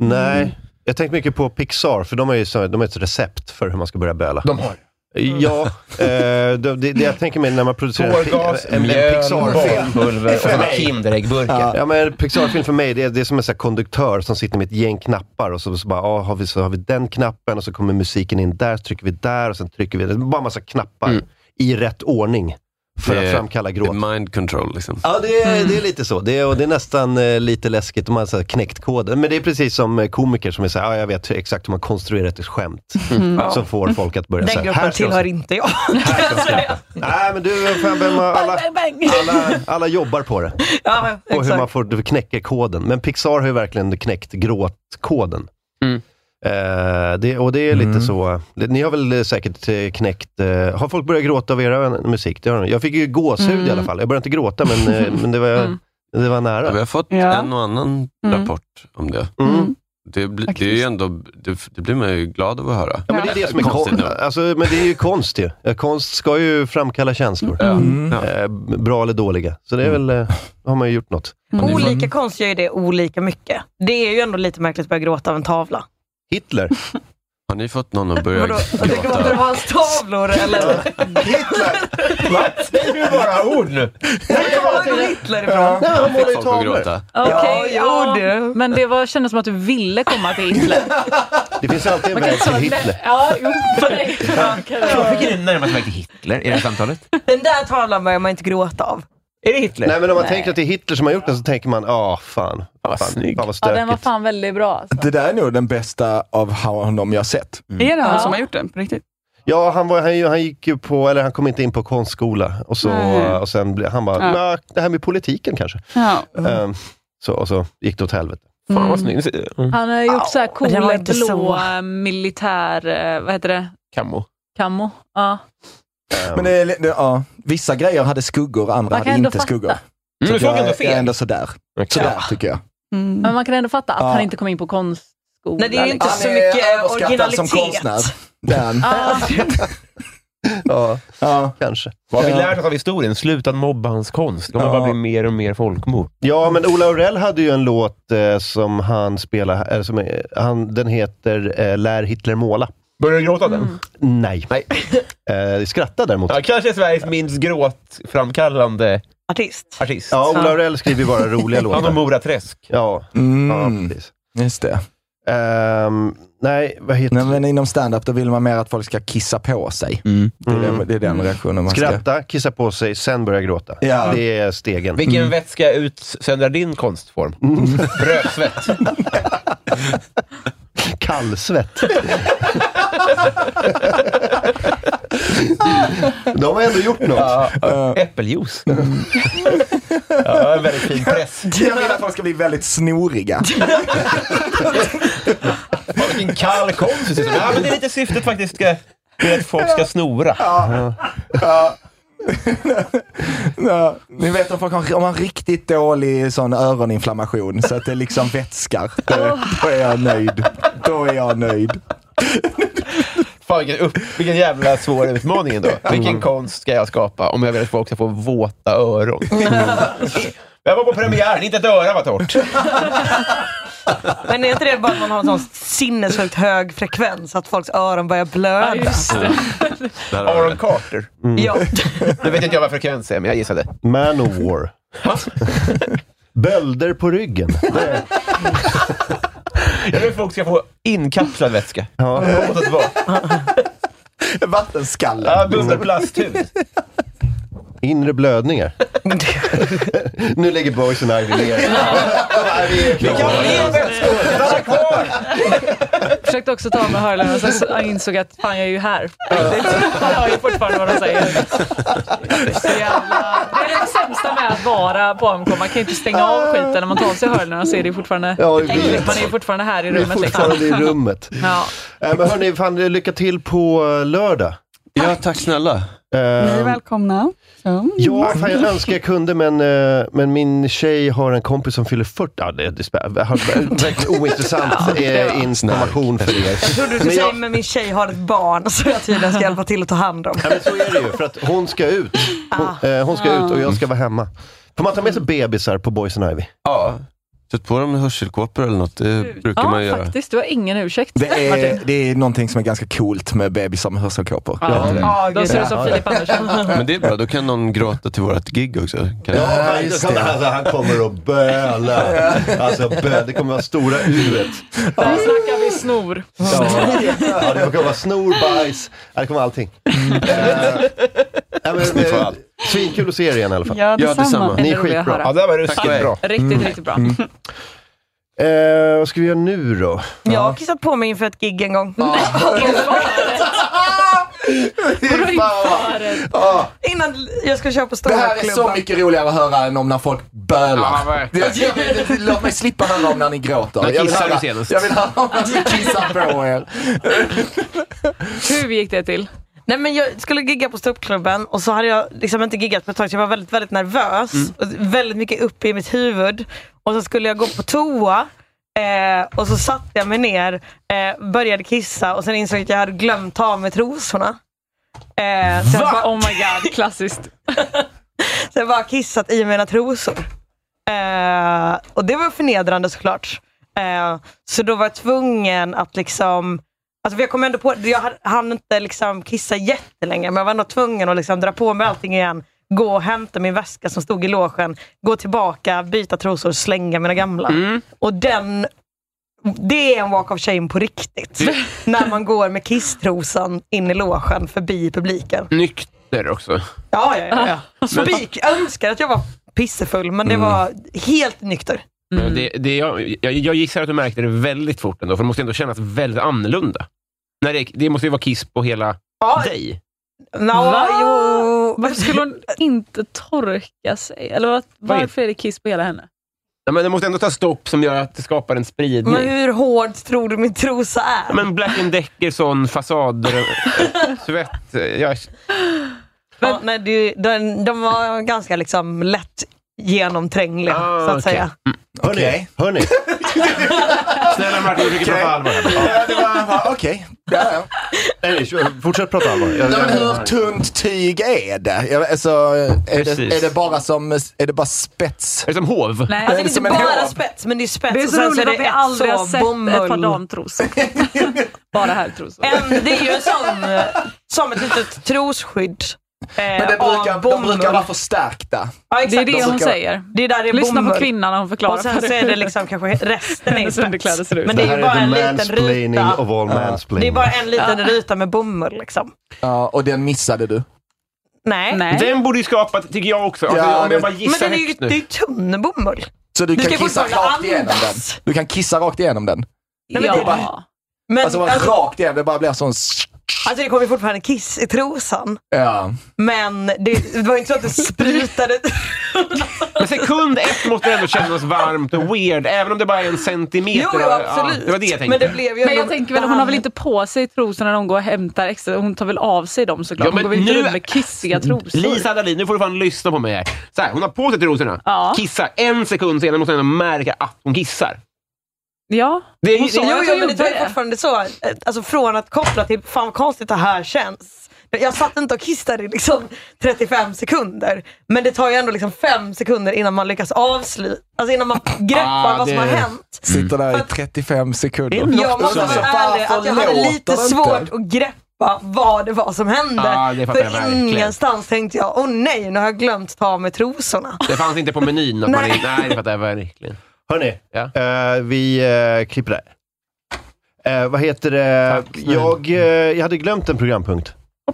C: Mm.
A: Nej, jag tänkte mycket på Pixar, för de har ju så, de har ett recept för hur man ska börja böla.
C: De har
A: Ja, eh, det, det, det jag tänker mig när man producerar en,
C: Tårgas,
A: pi- en, en
C: mjöl,
A: Pixar-film.
C: barnpulver och
A: För
C: såna
A: mig.
C: Kinderäggburkar.
A: Ja, men en Pixar-film för mig, det är, det är som en sån här konduktör som sitter med ett gäng knappar och så, så bara, ah, har, vi, så har vi den knappen och så kommer musiken in där, så trycker vi där och sen trycker vi... Det är bara massa knappar i rätt ordning för
N: Mm. Det
A: att
N: är-
A: framkalla gråt.
N: det är Mind control liksom.
A: Ja, det är,
B: Mm.
A: det är lite så. Det är, och det är nästan eh, lite läskigt om man har knäckt koden. Men det är precis som eh, komiker som är såhär, ja, jag vet exakt hur man konstruerar ett skämt.
B: Mm.
A: Som får folk att börja
B: Den
A: säga,
B: gruppen
A: här ska
B: tillhör
A: jag...
B: inte jag.
A: Nej, men du, fan, vem har- alla, alla, alla jobbar på det.
B: Ja,
A: Och hur
B: exakt.
A: man får, du knäcker koden. Men Pixar har ju verkligen knäckt gråtkoden. Eh, det, och det är
D: Mm.
A: lite så. det- Ni har väl eh, säkert eh, knäckt... eh, har folk börjat gråta av era eh, musik? Det har de. Jag fick ju gåshud i alla fall. Jag började inte gråta, men, eh, men det, var, det var nära.
N: Vi har fått en och annan
A: Mm.
N: rapport om det. Det, bli, det, är ju ändå, det, det blir man ju glad av att höra.
A: Ja, men det är det som är konst. Alltså, men det är ju konst ju. Eh, Konst ska ju framkalla känslor.
D: Mm.
A: Eh, bra eller dåliga. Så det är väl, eh, har man ju gjort något.
B: Olika konst gör ju det olika mycket. Det är ju ändå lite märkligt att börja gråta av en tavla.
A: Hitler.
N: Har ni fått någon att börja gråta?
B: Gråter du av hans tavlor eller?
C: Säg nu bara ord nu!
B: Hitler
C: ifrån.
D: Ja,
C: han målar ju
N: Fick folk att gråta.
D: Okej,
B: Ja,
D: ja,
B: jo, du.
D: Men det var, kändes som att du ville komma till Hitler.
A: Det finns alltid en
D: Man kan
A: väg till
D: ta-
A: Hitler.
D: Ja, jo, för dig.
C: Jag fick den närmaste väg till Hitler i det här samtalet.
B: Den där tavlan börjar man inte gråta av. Är det Hitler?
A: Nej, men om man
D: Nej.
A: tänker att det är Hitler som har gjort den så tänker man, ah fan. Fan, fan vad
D: Ja,
A: stökigt.
D: den var fan väldigt bra.
Q: Det där är nog den bästa av honom jag sett.
R: Är det han
D: Ja.
R: som har gjort den på riktigt?
A: Mm. Ja, han, var, han, han gick ju på, eller han kom inte in på konstskola. Och, så,
O: Nej.
A: och sen blev, han bara,
O: Ja.
A: "Nja, det här med politiken kanske.
D: Ja.
A: Ehm, så, och så gick det åt helvete. Fan vad snygg. Mm.
D: Han har gjort så här
B: det var
D: coola
B: inte så.
D: blå eh, militär... eh, Vad heter det?
C: Kammo.
D: Kammo. Ja.
Q: Men det, är li- det, ja, vissa grejer hade skuggor, andra
D: Man kan
Q: hade
D: ändå
Q: inte
D: fatta.
Q: skuggor.
D: Mm,
C: du
Q: att
C: såg
Q: jag,
C: ändå
Q: jag
C: fel.
Q: är ändå sådär. Sådär tycker jag.
D: Men man kan ändå fatta att
Q: Ja.
D: han inte kom in på konstskola.
B: Nej, det är ju inte
D: liksom.
B: så mycket
Q: Överskattad
B: originalitet.
Q: som konstnär. Den.
A: Ja, kanske.
C: Vad har vi
A: Ja.
C: lärt oss av historien? Sluta mobba hans konst. Det kommer bara bli mer och mer folkmord.
A: Ja, men Ola Aurell hade ju en låt eh, som han spelar, eller som, eh, han, den heter eh, Lär Hitler måla. Mm.
C: Börjar du gråta den?
A: Nej. Nej. eh, skratta däremot.
C: Ja, kanske Sveriges minst gråtframkallande
B: artist.
C: artist.
A: Ja, Ola Aurell skriver ju bara roliga låtar.
C: Han och Mora Träsk.
A: Ja, ja precis.
Q: Mm. Just det.
C: Ehm,
A: nej, vad heter
Q: Nej, men inom stand-up då vill man mer att folk ska kissa på sig. Det, är
C: Mm.
Q: den, det är den reaktionen man ska...
A: Mm. Skratta, kissa på sig, sen börja gråta.
Q: Ja.
A: Det är stegen. Mm.
C: Vilken vätska utsöndrar din konstform? Rödsvett.
A: Kallsvett. De har ändå gjort något.
C: Äppeljuice. ja, en väldigt fin press.
Q: Jag vill att folk ska bli väldigt snoriga.
C: Fan, Vilken kall konst. Ja, men det är lite syftet faktiskt. Ska, det är att folk ska snora.
Q: Ja. Ja, ni vet om folk har, om man har riktigt dålig sån öroninflammation så att det liksom vätskar. Då, då är jag nöjd. Då är jag nöjd.
C: Fan, vilken, upp, vilken jävla svår utmaning ändå.
A: Mm.
C: Vilken konst ska jag skapa om jag vill att folk ska få våta öron?
A: Mm.
C: Jag var på premiären, inte ett öra var torrt.
B: Men är inte det bara att man har en sån sinnessjukt hög frekvens, att folks öron börjar blöda?
C: Aaron Carter.
B: Ja.
C: Mm. Nu vet inte jag vad frekvens är, men jag gissade.
A: Manowar. Bölder på ryggen. Det-
C: Jag vill att folk ska få inkapslad vätska.
A: Ja.
C: Åt ett var.
Q: Vattenskallen.
C: Ja, bubbelplasthud.
A: Inre blödningar. nu lägger boys and Ivy ner.
C: Vi kan le vätskor! Stanna kvar!
D: Försökte också ta med hörlurar och sen så- insåg att fan, jag är ju här. Man hör ju fortfarande vad de säger. Så jävla... Det är det sämsta med att vara barnkom. Man kan ju inte stänga av skiten när man tar av sig hörlurarna så är det ju fortfarande
A: Ja, det blir-
D: äckligt. Man är ju fortfarande här i
A: Vi är
D: rummet.
A: fortfarande i
D: liksom.
A: rummet.
D: Ja.
A: Äh, men hörni, fan, lycka till på eh, lördag.
N: Ja, tack snälla.
A: Ehm,
R: Ni är välkomna. Mm. Så.
A: Ja,
B: Mm.
A: fan, jag önskar jag kunde, men, eh, men min tjej har en kompis som fyller 40. Ja, det är dispä- har- Verkligen ointressant eh, information för er.
B: Jag trodde du skulle
A: Men
B: säga, men min tjej har ett barn som jag tydligen ska hjälpa till att ta hand om.
A: Ja, men så är det ju, för att hon ska ut.
B: Ah.
A: Hon, eh, hon ska ut och jag ska vara hemma. Får man ta med sig bebisar på Boys and Ivy?
N: Ja. Sätt på dem hörselkåpor eller något, det brukar man
D: ja,
N: göra.
D: faktiskt. Du har ingen ursäkt,
Q: Det
D: Martin.
Q: är, det är någonting som är ganska coolt med bebisar med hörselkåpor.
N: Ja.
D: Ja, då ser du som Filip Andersson.
N: Men det är bra, då kan någon gråta till vårt gig också. Kan jag-
A: Ja, just det. Alltså, han kommer och böla. Alltså, bö, det kommer vara stora uret.
D: Där snackar vi snor.
A: Ja. Ja, det kommer vara snor, bajs, ja, det kommer vara allting. Eh, ja, men,
N: Ni får
A: eh,
N: allt.
A: Svinkul att se er igen i alla fall.
R: Ja, Ja, detsamma. detsamma.
A: Ni är
R: Eller vill jag
A: skitbra.
R: höra. Ja, det
C: var
A: Tack
C: ruskigt
A: och hej.
C: bra.
D: Riktigt, riktigt bra.
A: Eh, vad ska vi göra nu då?
B: Jag har kissat på mig inför ett gig en gång.
Q: Fan, vad- Ja,
B: Innan jag ska köra på
Q: Det
B: stora
Q: här är så
B: klubbar.
Q: mycket roligare att höra än om när folk bölar.
C: Ja, verkligen.
Q: Jag- jag vill- Låt mig slippa höra om när ni gråter.
C: När
Q: Jag vill
C: kissar du
Q: höra-
C: senast?
Q: Jag vill höra om när ni kissar på er.
D: Hur gick det till?
B: Nej men jag skulle gigga på ståuppklubben och så hade jag liksom inte giggat på ett tag så jag var väldigt, väldigt nervös.
D: Mm.
B: Och väldigt mycket uppe i mitt huvud. Och så skulle jag gå på toa eh, och så satte jag mig ner, eh, började kissa och sen insåg jag att jag hade glömt ta av mig trosorna. Eh, så, jag
D: Va?
B: bara,
D: Oh my god, klassiskt.
B: så jag bara kissat i mina trosor. Eh, och det var förnedrande såklart. Eh, så då var jag tvungen att liksom Alltså för jag kom ändå på jag hade- hann inte liksom kissa jättelänge, men jag var ändå tvungen att liksom dra på mig allting igen, gå och hämta min väska som stod i logen, gå tillbaka, byta trosor, slänga mina gamla. Och den, det är en walk of shame på riktigt. när man går med kisstrosan in i logen förbi publiken.
C: Nykter också.
B: Ja, ja, ja. Mm. ja. Spik, jag Alltså, önskar att jag var pissefull, men det var helt nykter.
C: Det, det, jag, jag, jag gissar att du märkte det väldigt fort ändå, för det måste ändå kännas väldigt annorlunda. När det, det måste ju vara kiss på hela
S: dig?
B: No,
S: Va?
B: jo.
S: Varför skulle hon inte torka sig? Eller vad-
C: Vad är-
S: varför är det kiss på hela henne?
C: Ja, men det måste ändå ta stopp som gör att det skapar en spridning.
B: Men hur hård tror du min trosa
C: Ja,
B: är?
C: Men Black and Decker, sån fasad, svett. Jag,
B: Men, nej, det, den, de var ganska liksom lätt genomträngliga, så att
C: okej.
B: säga.
C: Hörni, hörni. Snälla Martin, du tycker prata allvar.
Q: Okej.
A: Nej, nej, fortsätt prata allvar. Jag-
Q: Nej, men
A: jag-
Q: hur tunt tyg är det? Jag- Alltså, är,
A: Precis.
Q: det, är det bara som är det bara spets?
C: Är det som hov?
B: Nej, alltså, det är
Q: som
B: inte
Q: en
B: bara
Q: hov?
B: spets, men det är spets.
S: Det är
B: och
S: så
B: sen
S: roligt
B: är
S: att vi
B: ett
S: aldrig har
B: så
S: sett ett par
B: bomull.
S: damtrosor. Bara herrtrosor.
B: En- Det är ju en sån, eh, som ett litet trosskydd. eh,
Q: Men det
B: av
Q: brukar, de
B: bomull.
Q: brukar vara förstärkta.
B: Ja, exakt.
S: Det är det hon säger.
B: Det är där det är
S: Lyssna på
B: bomull.
S: kvinnan när hon förklarar
B: Och sen
S: för
B: så
S: dig.
B: är det liksom kanske resten är
S: Hennes underkläder
B: spets.
S: ser ut
B: Men
S: så.
B: det
Q: Det
B: är
Q: här
B: ju
Q: är
B: bara
Q: the
B: en liten
Q: mansplaining
B: ruta.
Q: of all
B: Ja.
Q: mansplaining.
B: Det är bara en liten
S: Ja.
B: ruta med bomull liksom.
Q: Ja, och den missade du.
B: Nej.
C: Den borde ju skapa, tycker jag också. Alltså,
Q: Ja,
C: om
Q: det-
C: jag bara
B: Men
C: gissar
B: den är ju,
C: högt
B: det är ju
C: nu.
B: tunn bomull.
Q: Så du,
B: Du
Q: kan
B: ska
Q: kissa
B: fortfarande
Q: rakt igenom den?
B: andas.
Q: Du kan kissa rakt igenom den?
B: Nej, men det-
Q: bara,
B: Men,
Q: alltså, bara
B: alltså-
Q: rakt igenom, det bara blir sån... s-
B: Alltså det kom ju fortfarande kiss i trosan.
Q: Ja.
B: Men det, det var ju inte så att det sprutade.
C: Men sekund ett måste det ändå kännas varmt och weird, även om det bara är en centimeter.
B: Jo, jo, absolut.
C: Ja, det var det jag tänkte.
B: Men det blev ju
S: Men jag
B: ändå-
S: tänker väl, hon har väl inte på sig trosorna när hon går och hämtar extra? Hon tar väl av sig dem såklart?
C: Ja,
S: hon
C: men
S: går väl inte
C: nu-
S: runt med kissiga trosor?
C: Lisa Dahlin, nu får du fan lyssna på mig här. Så här hon har på sig trosorna,
S: Ja.
C: kissar. En sekund senare måste hon ändå märka att hon kissar.
S: Ja,
C: Det är-
S: hon sa
B: jo,
S: ju att
B: jo,
S: hon
B: men
S: gjorde
B: det var ju
S: det.
B: fortfarande så. eh, Alltså från att koppla till fan vad konstigt det här känns. Jag satt inte och kissade i liksom 35 sekunder. Men det tar ju ändå liksom 5 sekunder innan man lyckas avsluta. Alltså innan man greppar vad som har hänt.
Q: Sitter där i 35 sekunder.
B: Jag måste vara
Q: Så
B: ärlig
Q: varför
B: att Alltså, jag hade
Q: låter
B: lite
Q: det inte?
B: svårt att greppa vad det var som hände.
C: Ja, det fattar jag
B: För
C: verkligen.
B: ingenstans tänkte jag, åh oh, nej, nu har jag glömt ta av mig trosorna.
C: Det fanns inte på menyn. Att man
B: Nej.
C: nej. nej, det fattar jag verkligen.
A: Hörni, eh, vi eh, klipper där. Eh, vad heter det? Jag, eh, jag hade glömt en programpunkt.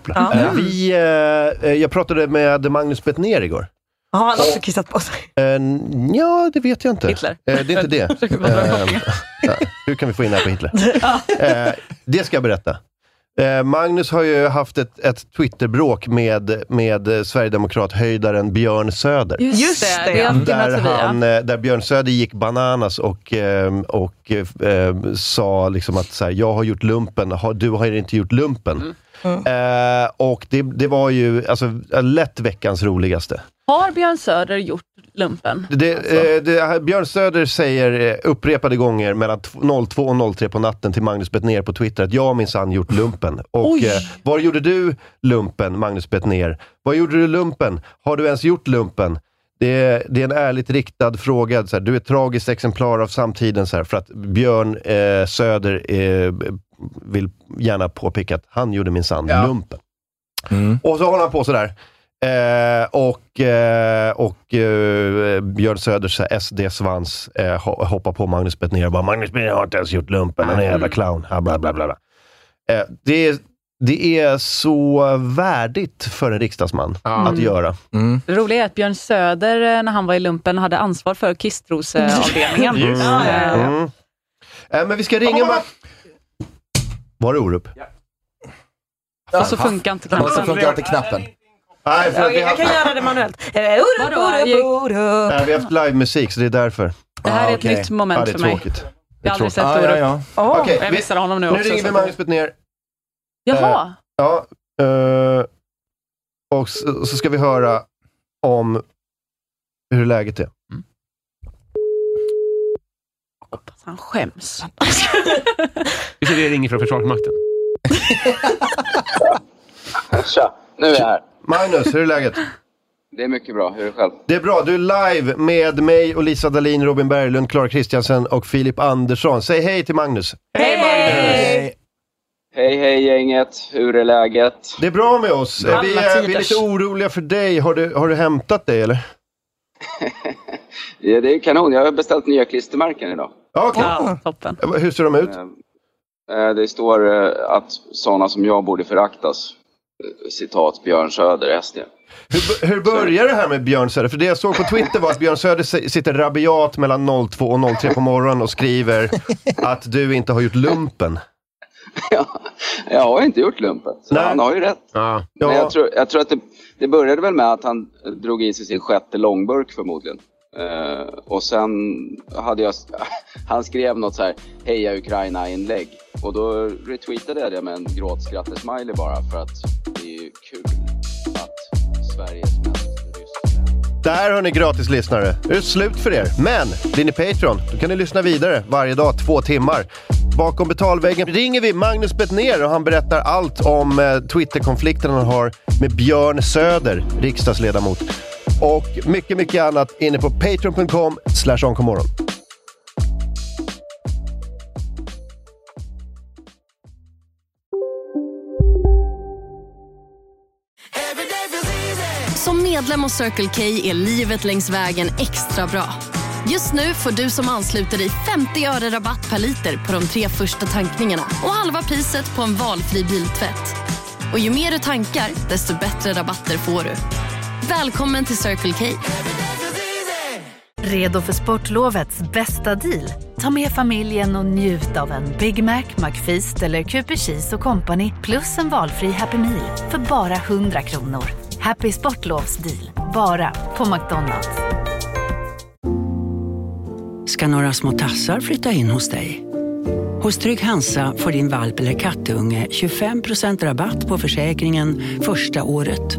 B: Ja.
A: Eh, vi, eh, eh, jag pratade med Magnus Bettner igår.
B: Har han också kissat på sig?
A: Uh, ja, det vet jag inte.
B: Hitler.
A: Eh, det är inte det. Eh, ja, hur kan vi få in det här på Hitler? Eh, det ska jag berätta. Eh, Magnus har ju haft ett, ett Twitterbråk med, med eh, Sverigedemokrat-höjdaren Björn Söder.
B: Just Just det, det. det har
A: Där,
B: filmats förbi, ja.
A: han, eh, där Björn Söder gick bananas och, eh, och eh, eh, sa liksom att så här, jag har gjort lumpen, har, du har inte gjort lumpen.
B: Mm.
A: Eh, och det, det var ju alltså, lätt veckans roligaste.
S: Har Björn Söder gjort lumpen?
A: Det, eh, det, här- Björn Söder säger eh, upprepade gånger mellan t- 02 och 03 på natten till Magnus Bettner på Twitter att jag har minsann gjort lumpen. Och
S: Oj.
A: eh, var gjorde du lumpen, Magnus Bettner? Var gjorde du lumpen? Har du ens gjort lumpen? Det är, det är en ärligt riktad fråga. Så här, du är ett tragiskt exemplar av samtiden. Så här, för att Björn eh, Söder eh, vill gärna påpeka att han gjorde minsann lumpen. Och så håller han på sådär. Eh, och eh, och eh, Björn Söders så här SD-svans eh, ho- hoppar på Magnus Bettner och bara “Magnus Bettner har inte ens gjort lumpen, han är en jävla clown”. Ja, bla, bla, bla, bla. Eh, det, är, det är så värdigt för en riksdagsman att
S: Mm.
A: göra.
S: Det roliga är att Björn Söder, eh, när han var i lumpen, hade ansvar för kisstrosavdelningen.
A: Mm. Mm. Eh, men vi ska ringa... Ma- Var det Orup?
S: Och så funkar inte knappen.
A: Och så funkar inte
Q: knappen.
A: Nej, för att
B: Okej,
A: vi
B: jag kan
A: har,
B: göra det manuellt. Eh, Orup, orup, orup.
A: nej, vi har haft livemusik, så det är därför.
S: Det här är ett nytt moment
A: ja, Ah, det är
S: för mig.
A: Tråkigt.
S: Jag har aldrig sett
A: Ah,
S: Orup.
A: ja, ja.
S: Åh,
A: Okej,
S: jag
A: vi-
S: missade honom nu,
A: Nu
S: också.
A: ringer vi
S: så-
A: Magnus Bettner.
S: Jaha!
A: Eh, ja, eh, och så, så ska vi höra om hur läget är.
T: Mm.
S: Han skäms.
C: Vi ser det ringer från Försvarsmakten.
T: Tja, nu är jag här.
A: Magnus, hur är läget?
T: Det är mycket bra. Hur är det själv?
A: Det är bra. Du är live med mig och Lisa Dahlin, Robin Berglund, Klara Kristiansen och Filip Andersson. Säg hej till Magnus.
T: Hej, Magnus! Hej, hej gänget. Hur är läget?
A: Det är bra med oss.
T: Alla
A: Eh, Vi är, vi är
T: tiders.
A: lite oroliga för dig. Har du, har du hämtat dig eller?
T: Ja, det är kanon. Jag har beställt nya klistermärken idag.
A: Okay.
S: toppen.
A: Hur ser de ut?
T: Eh, Det står eh, att sådana som jag borde föraktas. Eh, Citat Björn Söder, SD.
A: Hur börjar det här med Björn Söder? För det jag såg på Twitter var att Björn Söder si- sitter rabiat mellan 02 och 03 på morgonen och skriver att du inte har gjort lumpen.
T: Jag har inte gjort lumpen, så han har ju rätt.
U: Ja.
T: Men jag tror, jag tror att det, det började väl med att han drog i sig sin sjätte långburk förmodligen. Eh, och sen hade jag, han skrev något så här Heja Ukraina inlägg. Och då retweetade jag det med en gråtskrattesmiley bara för att det är ju kul att Sveriges mest
A: Där hör ni gratis lyssnare. Nu är det slut för er. Men blir ni Patreon, då kan ni lyssna vidare varje dag två timmar. Bakom betalväggen ringer vi Magnus Bettner och han berättar allt om eh, Twitterkonflikten han har med Björn Söder, riksdagsledamot. Och mycket, mycket annat inne på patreon.com slash onkomorron.
V: Som medlem hos Circle K är livet längs vägen extra bra. Just nu får du som ansluter dig 50 öre rabatt per liter på de tre första tankningarna och halva priset på en valfri biltvätt. Och ju mer du tankar, desto bättre rabatter får du. Välkommen till Circle K.
H: Redo för sportlovets bästa deal? Ta med familjen och njut av en Big Mac, McFeast eller Cooper Cheese och Company plus en valfri Happy Meal för bara 100 kronor. Happy Sportlovs deal, bara på McDonalds.
Q: ska några små tassar flytta in hos dig. Hos Trygg Hansa får din valp eller kattunge 25% rabatt på försäkringen första året.